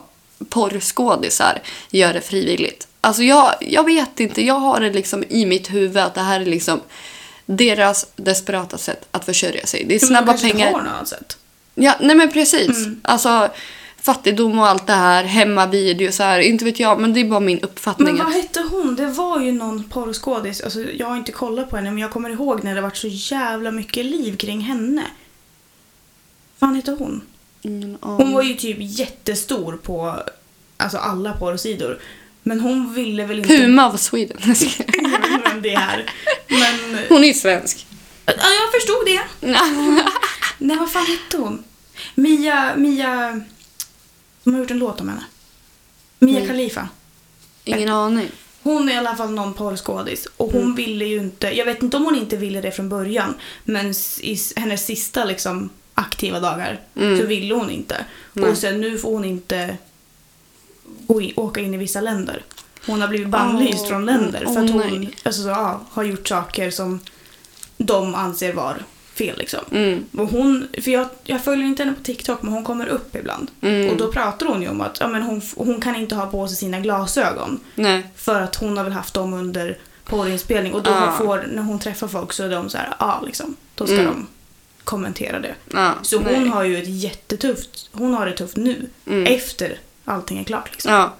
porrskådisar gör det frivilligt. Alltså jag, jag vet inte, jag har det liksom i mitt huvud att det här är liksom deras desperata sätt att försörja sig. Det är
Men du
snabba
kanske inte
pengar.
Har något annat sätt.
Ja, nej men precis.
Mm.
Alltså fattigdom och allt det här, hemmavideo så här, inte vet jag, men det är bara min uppfattning.
Men vad
att-
hette hon? Det var ju någon porrskådis. Alltså, jag har inte kollat på henne men jag kommer ihåg när det varit så jävla mycket liv kring henne. Vad hette hon?
Ingen
Hon
aning.
var ju typ jättestor på alltså, alla porrsidor. Men hon ville väl inte...
Puma av Sweden.
Jag vet inte vem det är. Men
Hon är svensk.
Ja, jag förstod det. Nej, vad fan hette hon? Mia, Mia... De har gjort en låt om henne. Mia Khalifa.
Ingen aning.
Hon är i alla fall någon porrskådis och hon
Mm.
ville ju inte, jag vet inte om hon inte ville det från början, men s- i s- hennes sista liksom aktiva dagar
Mm.
så ville hon inte. Och sen nu får hon inte gå i- åka in i vissa länder. Hon har blivit bannlyst
Åh,
från länder
åh,
för att hon
nej.
alltså, så, ja, har gjort saker som de anser var fel liksom.
Mm.
Och hon, för jag, jag följer inte henne på TikTok men hon kommer upp ibland.
Mm.
Och då pratar hon ju om att ja, men hon, f- hon kan inte ha på sig sina glasögon.
Nej.
För att hon har väl haft dem under porrinspelning och då
Ja.
får, när hon träffar folk så är de så här, ja liksom. Då ska
Ah. Mm.
de kommentera det.
Ja,
Så
nej. Mm.
hon har ju ett jättetufft, hon har det tufft nu. Efter allting är klart liksom.
Ja.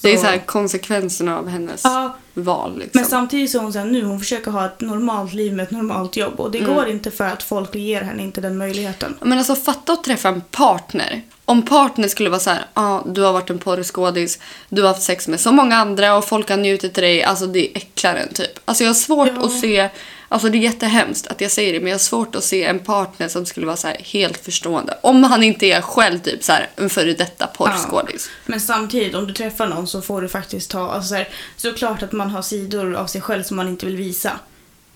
Det är
Så-
så här konsekvenserna av hennes
Ja,
val liksom.
men samtidigt så är hon så här, nu, hon försöker ha ett normalt liv med ett normalt jobb och det
Mm.
går inte för att folk ger henne inte den möjligheten.
Men alltså fatta att träffa en partner. Om partner skulle vara så här, ah, du har varit en porrskådis, du har haft sex med så många andra och folk har njutit till dig, alltså det är äcklaren typ. Alltså jag har svårt
Ja.
att se, alltså det är jättehemskt att jag säger det, men jag har svårt att se en partner som skulle vara så här helt förstående. Om han inte är själv typ så här en före detta porrskådis.
Men samtidigt, om du träffar någon så får du faktiskt ta... Alltså så här, såklart att man har sidor av sig själv som man inte vill visa.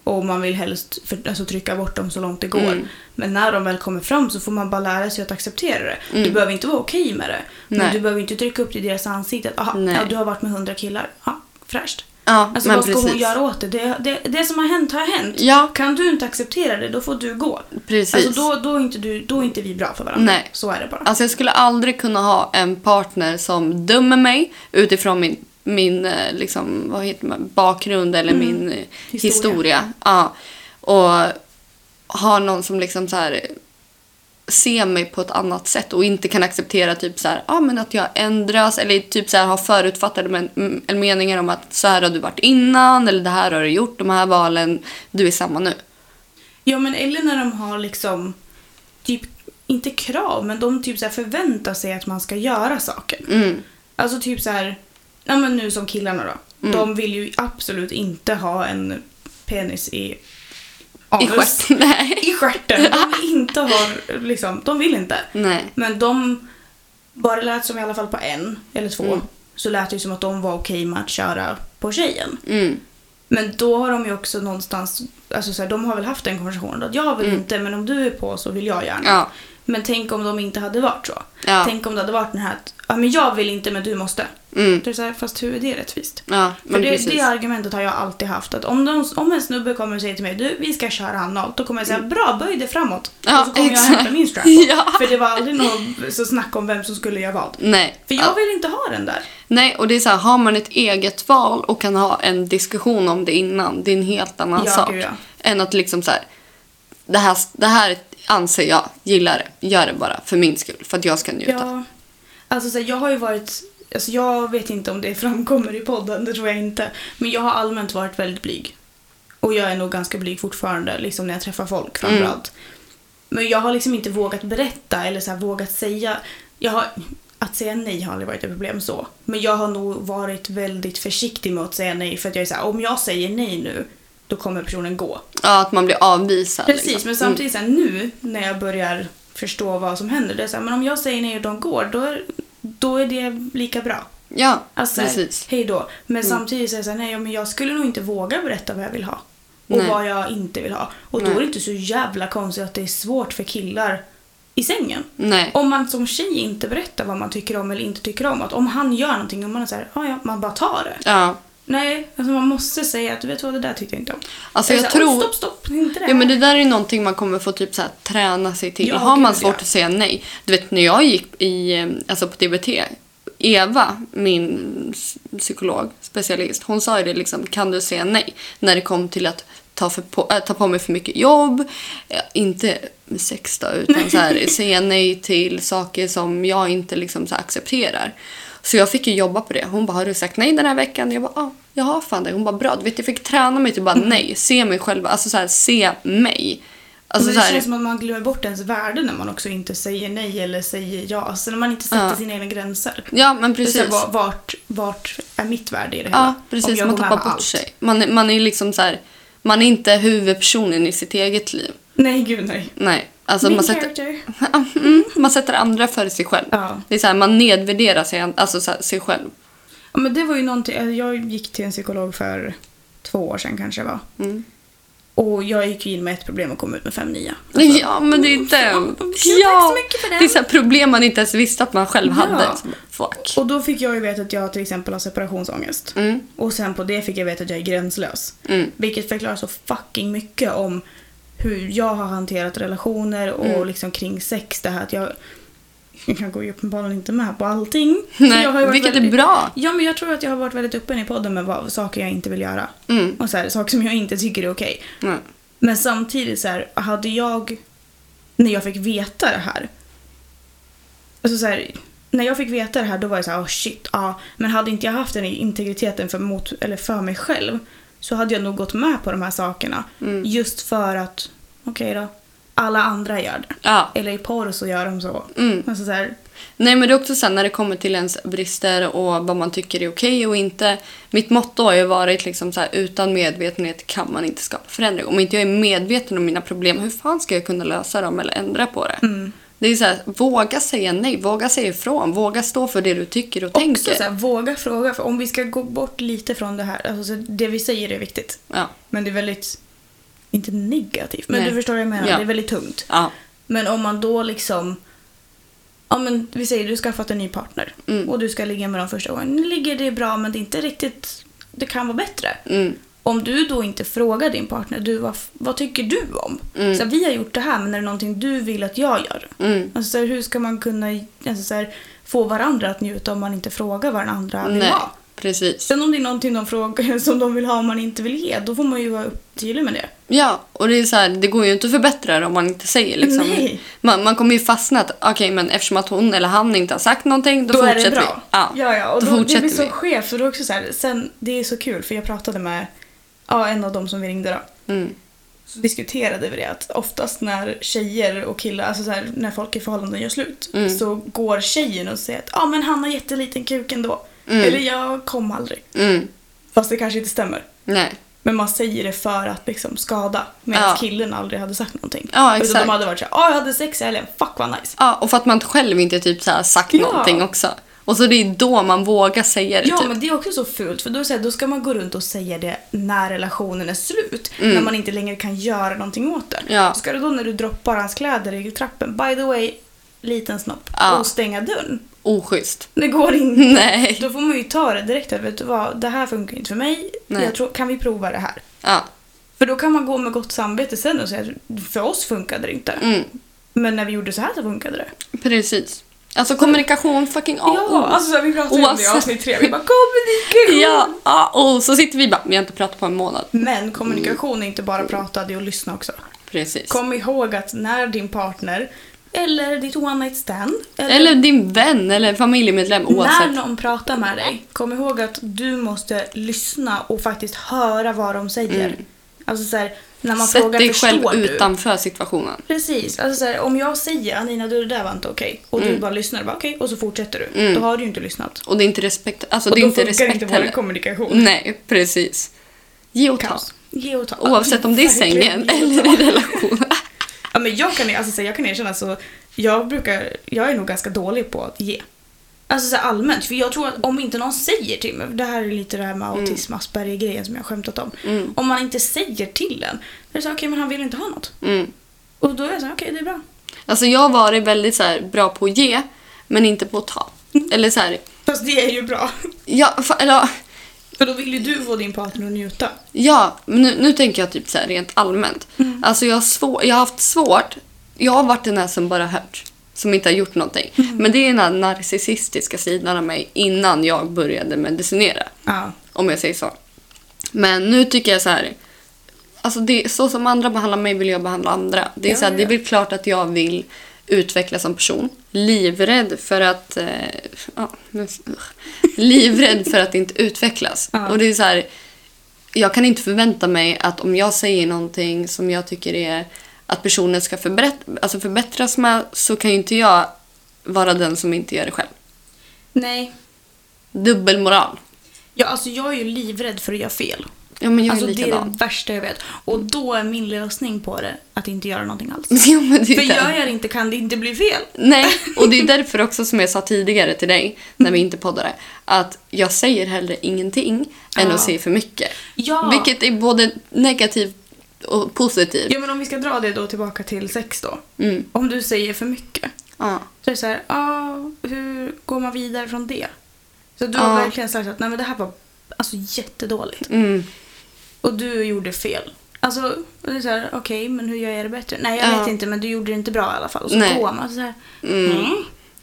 Och man vill helst för, alltså, trycka bort dem så långt det går.
Mm.
Men när de väl kommer fram så får man bara lära sig att acceptera det. Du behöver inte vara okej med det. Men
Mm. Nej.
du behöver inte trycka upp det i deras ansikte. att, Aha,
Nej.
ja, du har varit med hundra killar. Ja, fräscht.
Ja,
Alltså
men
vad ska hon
precis.
göra åt det? Det, det? det som har hänt har hänt.
Ja.
Kan du inte acceptera det, då får du gå.
Precis.
Alltså då, då, är inte du, då är inte vi bra för varandra.
Nej.
Så är det bara.
Alltså jag skulle aldrig kunna ha en partner som dömer mig utifrån min, min eh,
Mm.
liksom, vad heter man, bakgrund eller min eh,
Historia.
historia. Ja. Och har någon som liksom så här ser mig på ett annat sätt och inte kan acceptera typ så här, ah, men att jag ändras eller typ så här, har förutfattade men, m- eller meningar om att så här har du varit innan eller det här har du gjort, de här valen, du är samma nu.
Ja, men eller när de har liksom, typ, inte krav, men de typ så här förväntar sig att man ska göra saker.
Mm.
Alltså typ så här, ja men nu som killarna då.
Mm.
De vill ju absolut inte ha en penis i
I
anus.
stjärt. Nej.
I stjärten. De vill inte ha, liksom, de vill inte.
Nej.
Men de, bara det lät som i alla fall på en eller två,
Mm.
så lät det ju som att de var okej med att köra på tjejen.
Mm.
Men då har de ju också någonstans, alltså så här, de har väl haft den konversationen då, att jag vill inte men om du är på så vill jag gärna.
Mm. Ja.
Men tänk om de inte hade varit så.
Ja.
Tänk om det hade varit den här att, ja men jag vill inte men du måste.
Mm.
Det är så här, fast hur är det rättvist?
Ja,
För
men
det,
precis.
det argumentet har jag alltid haft att om, de, om en snubbe kommer och säger till mig du vi ska köra analt då kommer jag säga bra böj dig framåt
Mm. Ja,
och så kommer jag
exakt.
hämta min strap.
Ja.
För det var aldrig något så snack om vem som skulle göra vad.
Nej.
För jag
Ja.
vill inte ha den där.
Nej, och det är så här, har man ett eget val och kan ha en diskussion om det innan, det är en helt annan
Ja,
sak.
gud, ja.
Än att liksom så här, det här, det här anser jag, gillar det, gör det bara för min skull, för att jag ska njuta.
Ja. Alltså så här, jag har ju varit, alltså jag vet inte om det framkommer i podden, det tror jag inte. Men jag har allmänt varit väldigt blyg. Och jag är nog ganska blyg fortfarande, liksom när jag träffar folk framförallt. Men jag har liksom inte vågat berätta eller så här, vågat säga. Jag har, att säga nej har aldrig varit ett problem så. Men jag har nog varit väldigt försiktig med att säga nej för att jag är så här, om jag säger nej nu, då kommer personen gå.
Ja, att man blir avvisad.
Precis,
liksom.
men
Mm.
samtidigt så här, nu när jag börjar förstå vad som händer, det är så här, men om jag säger nej och de går, då är, då är det lika bra.
Mm. Ja,
Alltså,
precis. Mm.
Här, hej då. Men samtidigt så är det så här, nej, ja, men jag skulle nog inte våga berätta vad jag vill ha. Och
Nej.
vad jag inte vill ha. Och då
Nej.
är det inte så jävla konstigt att det är svårt för killar i sängen.
Nej.
Om man som tjej inte berättar vad man tycker om eller inte tycker om. Att om han gör någonting och man är så här, ja, ja, man bara tar det.
Ja.
Nej, alltså man måste säga att du vet vad, det där tyckte jag inte om.
Alltså,
Eller
jag
så här, "Oj,
tror-
Stopp, stopp, inte det
Ja, men
här."
det där är ju någonting man kommer få typ så här, träna sig till.
Ja,
har man
gud,
svårt
ja.
att säga nej. Du vet när jag gick i, eh, alltså på DBT, Eva, min s- psykolog, specialist, hon sa ju det liksom, kan du säga nej? När det kom till att ta, för på, äh, ta på mig för mycket jobb, eh, inte sex då, utan så här, säga nej till saker som jag inte liksom så här, accepterar. Så jag fick ju jobba på det. Hon bara, har du sagt nej den här veckan? Jag bara, ja, jag har fan det. Hon bara, bra. Du vet, jag fick träna mig till bara
Mm.
nej. Se mig själv. Alltså så här, se mig. Alltså
men
så
det
här,
känns som att man glömmer bort ens värde när man också inte säger nej eller säger ja. Alltså när man inte sätter
Ja.
sina egna gränser.
ja men
Det är så här,
precis.
va- Vart, vart är mitt värde i det
Ja,
hela? Om
precis.
jag
Man
går med
tappar
på
bort
allt.
sig. Man, är- man är liksom så här, man är inte huvudpersonen i sitt eget liv.
Nej, gud nej.
Nej. Alltså
Min
man sätter,
character.
mm, man sätter andra före sig själv.
Ja.
Det är så här, man nedvärderar sig, alltså så här, sig själv.
Ja, men det var ju någonting. alltså, Jag gick till en psykolog för två år sedan kanske det var.
Mm.
Och jag gick ju in med ett problem och kom ut med fem nya.
ja, men det är den.
Alltså, Tack så
Ja,
mycket för den.
det är så här problem man inte ens visste att man själv hade.
Ja.
Så, bara, fuck.
Och då fick jag ju veta att jag till exempel har separationsångest.
Mm.
Och sen på det fick jag veta att jag är gränslös.
Mm.
Vilket förklarar så fucking mycket om hur jag har hanterat relationer och
Mm.
liksom kring sex. Det här att jag, jag kan gå ju uppenbarligen inte med på allting.
Nej,
jag har ju varit
vilket är bra.
Ja, men jag tror att jag har varit väldigt öppen i podden med vad, saker jag inte vill göra.
Mm.
Och så här, saker som jag inte tycker är okej.
Mm.
Men samtidigt så här, hade jag, när jag fick veta det här. Alltså så här, när jag fick veta det här då var jag så här, oh shit, ja. men hade inte jag haft den integriteten för, mot, eller för mig själv så hade jag nog gått med på de här sakerna.
Mm.
Just för att, okej då, alla andra gör det.
Ja.
Eller i porr så gör de så.
Mm.
Alltså så här,
Nej men det är också sen när det kommer till ens brister och vad man tycker är okej och inte. Mitt motto har ju varit liksom så här, utan medvetenhet kan man inte skapa förändring. Om inte jag är medveten om mina problem, hur fan ska jag kunna lösa dem eller ändra på det?
Mm.
Det är så här, våga säga nej, våga säga ifrån, våga stå för det du tycker och
också
tänker.
så här, våga fråga. För om vi ska gå bort lite från det här, alltså så det vi säger är viktigt.
Ja.
Men det är väldigt, inte negativt, men
Nej.
du förstår vad jag menar.
Ja.
Det är väldigt tungt.
Ja.
Men om man då liksom... Ja men vi säger du skaffat en ny partner
Mm.
och du ska ligga med dem första gången. Nu ligger det bra men det är inte riktigt... Det kan vara bättre.
Mm.
Om du då inte frågar din partner, du, vad, vad tycker du om?
Mm.
Så här, vi har gjort det här men är det någonting du vill att jag gör?
Mm.
Alltså, så här, hur ska man kunna alltså, så här, få varandra att njuta om man inte frågar vad den andra vill
Nej,
ha?
precis.
Sen om det är någonting de frågar som de vill ha och man inte vill ge, då får man ju vara upp- tydlig med det.
Ja, och det är så här, det går ju inte att förbättra det om man inte säger liksom.
Nej.
Man, man kommer ju fastna att okej, men eftersom att hon eller han inte har sagt någonting, då,
Då är det
fortsätter
bra.
vi. Ja,
Ja, ja, och
då,
då, det
fortsätter
blir så
vi.
skevt och då också så här, sen, det är så kul för jag pratade med ja, en av dem som vi ringde då.
Mm.
Så diskuterade vi det att oftast när tjejer och killar, alltså så här, när folk i förhållanden gör slut
Mm.
så går tjejen och säger att ja ah, men han har jätteliten kuk ändå. Eller jag kom aldrig.
Mm,
Fast det kanske inte stämmer.
nej.
Men man säger det för att liksom skada. Medan
Ja.
killen aldrig hade sagt någonting.
Ja,
Utan
exakt.
de hade varit såhär, ja jag hade sex i helgen, fuck vad nice.
Ja, och för att man själv inte typ så här sagt
Ja.
någonting också. Och så det är då man vågar säga det
Ja,
typ.
men det är också så fult för då, är det så här, då ska man gå runt och säga det när relationen är slut. När man inte längre kan göra någonting åt det.
Mm. Ja.
Ska du då när du droppar hans kläder i trappen, by the way, liten snopp,
Ja.
och stänga dörren?
Oschysst.
Det går inte.
Nej.
Då får man ju ta det direkt. Att, vet du vad, det här funkar inte för mig.
Nej.
Jag tror, kan vi prova det här?
Ja,
För då kan man gå med gott samvete sen och säga att för oss funkade det inte.
mm,
Men när vi gjorde så här så funkade det.
precis. Alltså kommunikation, fucking A och O.
Ja, alltså så här, vi pratade ju om det i
Oavsett.
avsnitt tre. Vi bara kommunikation!
Ja, A och O. Så sitter vi bara, vi har inte pratat på en månad.
Men kommunikation är inte bara prata, det är att lyssna också.
Precis.
Kom ihåg att när din partner eller ditt one night stand eller,
Eller din vän eller familjemedlem
när
oavsett.
någon pratar med dig, kom ihåg att du måste lyssna och faktiskt höra vad de säger. Alltså så här, när man
Sätt
frågar
dig
förstår
själv
du?
utanför situationen.
Precis. Alltså så här, om jag säger Anina du det där var inte okej och du bara lyssnar bara okej och så fortsätter du. Då har du ju inte lyssnat.
Mm. Och det är inte respekt, alltså
Och
det är
då
inte
funkar
respekt
inte vår
heller. Mm.
kommunikation.
Nej, precis. Ge och ta.
Kaos. Ge och ta.
Oavsett om det är i sängen
Verkligen ge och
eller
ta.
i relationen.
Ja, men jag, kan, alltså, så här, jag kan erkänna så jag brukar, jag är nog ganska dålig på att ge. Alltså så här, allmänt, för jag tror att om inte någon säger till mig, det här är lite det här med autism, Asperger grejen som jag har skämtat om. Om man inte säger till en, då är det så här, okej men han vill inte ha något.
Mm.
Och då är jag så här, okej det är bra.
Alltså jag har varit väldigt så här, bra på att ge, men inte på att ta. Eller så här,
Fast det är ju bra.
ja, fa- eller,
För då vill ju du få din partner att njuta.
ja men nu, nu tänker jag typ så här rent allmänt. Alltså jag har, svår, jag har haft svårt, jag har varit den här som bara hört, som inte har gjort någonting. Men det är den här narcissistiska sidan av mig innan jag började medicinera.
Ja.
Om jag säger så. Men nu tycker jag så här. Alltså det, så som andra behandlar mig vill jag behandla andra. Det är, så här, det är väl klart att jag vill utvecklas som person. Livrädd för att... Eh, ja, nu, livrädd för att inte utvecklas. Och det är så här, jag kan inte förvänta mig att om jag säger någonting som jag tycker är att personen ska förbätt- alltså förbättras med så kan ju inte jag vara den som inte gör det själv.
Nej.
Dubbelmoral.
Ja, alltså jag är ju livrädd för att göra fel.
Ja, men jag
alltså
är
det är
likadan.
det värsta jag vet. Och då är min lösning på det att inte göra någonting alls.
Ja, men det är den.
För gör jag det inte kan det inte bli fel.
Nej, och det är därför också som jag sa tidigare till dig när vi inte poddade att jag säger hellre ingenting än
Ja.
att säga för mycket.
Ja.
Vilket är både negativt och positivt.
Ja men om vi ska dra det då tillbaka till sex då.
Mm.
Om du säger för mycket.
Ja.
Så är det så här, ah, hur går man vidare från det? Så du har
Ja.
verkligen sagt att nej men det här var alltså jättedåligt.
Mm.
Och du gjorde fel. Alltså, och det är så här, okej men hur gör jag det bättre? Nej jag
Ja.
vet inte men du gjorde det inte bra i alla fall. Och så
Nej.
går man så här,
Mm.
mm.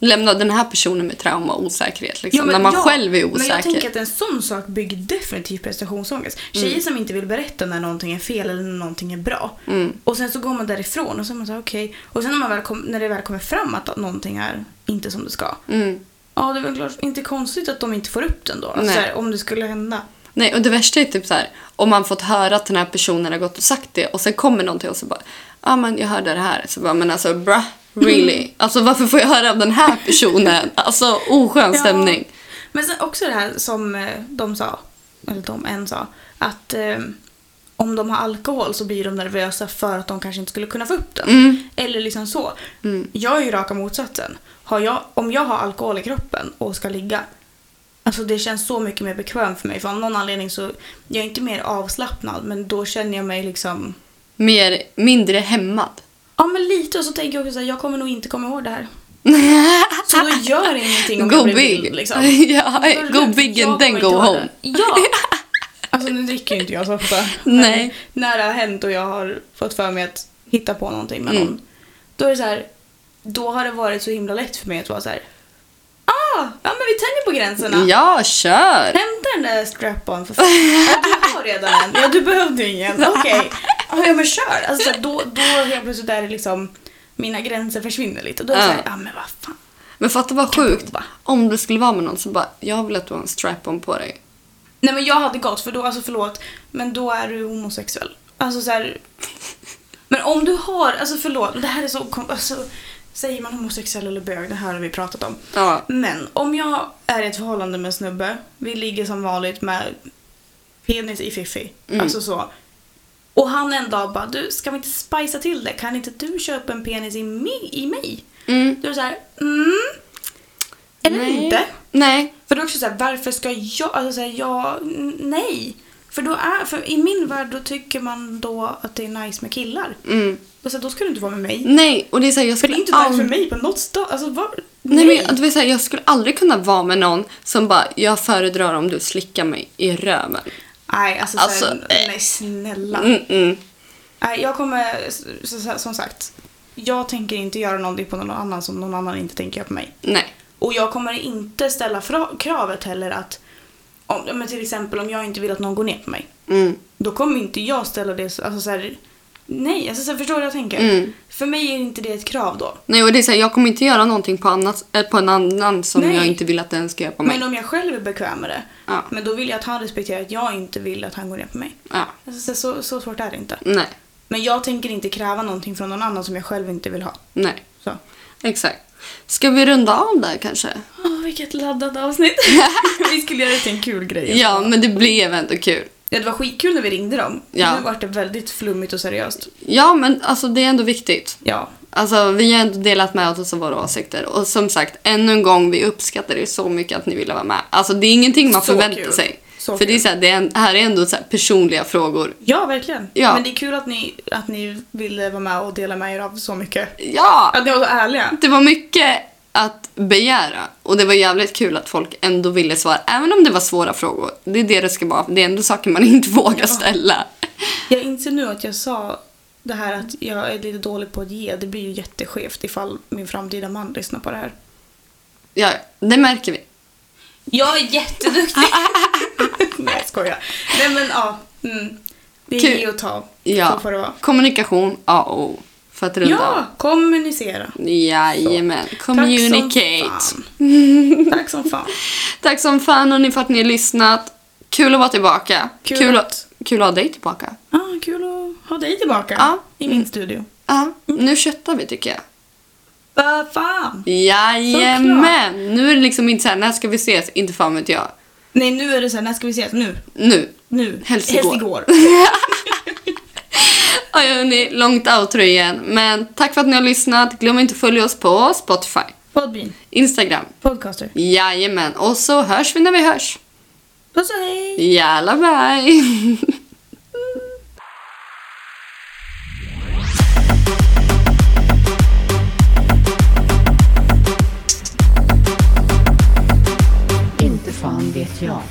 Lämna den här personen med trauma och osäkerhet. Liksom,
Ja, men
när man
ja,
själv är
Men jag tänker
osäker.
att en sån sak bygger definitivt prestationsångest. Tjejer som inte vill berätta när någonting är fel eller när någonting är bra.
Mm.
Och sen så går man därifrån och så är man så här, okej. Och sen när, man väl kom, när det väl kommer fram att någonting är inte som det ska.
Mm.
Ja, det är väl klart inte konstigt att de inte får upp den då. Alltså,
Nej.
så här, om det skulle hända.
Nej, och det värsta är typ så här, om man fått höra att den här personen har gått och sagt det och sen kommer någon till oss och bara ja men jag hörde det här. Så bara men alltså bruh, really? Alltså varför får jag höra av den här personen? Alltså oskön
Ja.
stämning.
Men sen också det här som eh, de sa, eller de en sa, att eh, om de har alkohol så blir de nervösa för att de kanske inte skulle kunna få upp den. Eller liksom så. Jag är ju raka motsatsen. Har jag, om jag har alkohol i kroppen och ska ligga, alltså det känns så mycket mer bekvämt för mig. För av någon anledning så, jag är inte mer avslappnad men då känner jag mig liksom,
mer, mindre hämmad.
ja men lite och så tänker jag också såhär, jag kommer nog inte komma ihåg det här. Så då gör det ingenting om
Go
jag blir
big!
vild liksom.
ja,
Då är det
go
lätt.
big
Jag
and then
kommer
go
inte ha
home.
det. Ja! Alltså nu dricker ju inte jag så ofta.
Nej.
Men När det har hänt och jag har fått för mig att hitta på någonting med
Mm.
någon. Då är det så här, då har det varit så himla lätt för mig att vara så här. Ah, ja men vi tänjer på gränserna.
Ja, kör!
Hämta den där strap-on för fan. Ja, du har redan en. Ja, du behövde ju ingen. Okej. Ja men kör! Alltså, så här, då, då helt plötsligt är det liksom, mina gränser försvinner lite. Då är det
Ja.
såhär, ja men vad fan.
Men fatta vad sjukt om du skulle vara med någon så bara jag vill att du har en strap-on på dig.
Nej men jag hade gått för då, alltså förlåt, men då är du homosexuell. Alltså så här. Men om du har, alltså förlåt, det här är så, kom- alltså, säger man homosexuell eller bög, det här har vi pratat om.
Ja.
Men om jag är i ett förhållande med en snubbe, vi ligger som vanligt med penis i fiffi,
Mm.
alltså så. Och han en dag bara, du ska vi inte spicea till det? Kan inte du köpa en penis i mig? I mig?
Mm.
Då är det såhär, mm. Eller
Nej.
inte.
Nej.
För då är det också såhär, varför ska jag, alltså såhär, jag, n- nej. För då är, för i min värld då tycker man då att det är nice med killar.
Mm.
Och så här, då ska du inte vara med mig.
Nej, och det är så här, jag
För det
skulle
är inte nice
aldrig...
för mig på något stad, alltså var,
Nej, men, det vill säga, jag skulle aldrig kunna vara med någon som bara jag föredrar om du slickar mig i röven.
Nej, alltså, så här,
Alltså, eh.
nej snälla.
Mm, mm.
Nej, jag kommer, så, så, som sagt, jag tänker inte göra någonting på någon annan som någon annan inte tänker göra på mig.
Nej.
Och jag kommer inte ställa fra- kravet heller att, om, ja, men till exempel om jag inte vill att någon går ner på mig,
Mm.
då kommer inte jag ställa det, så- alltså så här, nej, alltså så här, förstår du vad jag tänker?
Mm.
För mig är inte det ett krav då.
Nej, och det är så här, jag kommer inte göra någonting på, annat, eh, på en annan som
Nej.
jag inte vill att den ska göra på mig.
Men om jag själv är bekväm med det,
Ja.
men då vill jag att han respekterar att jag inte vill att han går ner på mig.
Ja.
Alltså, så, här, så, så svårt är det inte.
Nej.
Men jag tänker inte kräva någonting från någon annan som jag själv inte vill ha.
Nej.
Så.
Exakt. Ska vi runda av där kanske?
Åh, vilket laddat avsnitt. vi skulle göra det till en kul grej.
Ja, men det blev ändå kul.
Ja, det var skitkul när vi ringde dem.
Ja.
Nu var det väldigt flummigt och seriöst.
Ja, men alltså det är ändå viktigt.
Ja.
Alltså, vi har ändå delat med oss av våra åsikter. Och som sagt, ännu en gång, vi uppskattar er så mycket att ni ville vara med. Alltså, det är ingenting man
Så
förväntar
kul.
sig.
Så
För det är
kul.
så här, det är en, här är ändå så här personliga frågor.
Ja, verkligen.
Ja.
Men det är kul att ni, att ni ville vara med och dela med er av så mycket.
Ja!
Att ni var så ärliga.
Det var mycket att begära. Och det var jävligt kul att folk ändå ville svara. Även om det var svåra frågor. Det är det det ska vara. Det är ändå saker man inte vågar ställa.
Jag inser nu att jag sa det här att jag är lite dålig på att ge. Det blir ju jätteskevt ifall min framtida man lyssnar på det här.
Ja, det märker vi.
Jag är jätteduktig! Nej, jag skojar. Nej, men ja. Mm. Det är
Kul.
ge och ta. Så
Ja.
får det vara.
Kommunikation, A och O. För att runda
Ja,
av.
kommunicera.
Jajamän. Communicate.
Tack som fan. Tack som fan.
Tack som fan hörni för att ni har lyssnat. Kul att vara tillbaka.
Kul
att,
att-
kul att ha dig tillbaka.
Ah, kul att ha dig tillbaka
Ja.
i min studio.
Ja, Mm. nu köttar vi tycker jag.
Vad fan!
Jajamän! Nu är det liksom inte såhär, när ska vi ses? Inte fan vet jag.
Nej, nu är det så här, när ska vi ses? Nu.
Nu.
Nu.
Helst igår.
igår.
Ja, hörni, långt outro igen. Men tack för att ni har lyssnat. Glöm inte att följa oss på Spotify,
Podbean.
Instagram.
Podcaster.
Jajamän. Och så hörs vi när vi hörs.
Puss och hej!
Jalla bye!
Inte fan vet jag.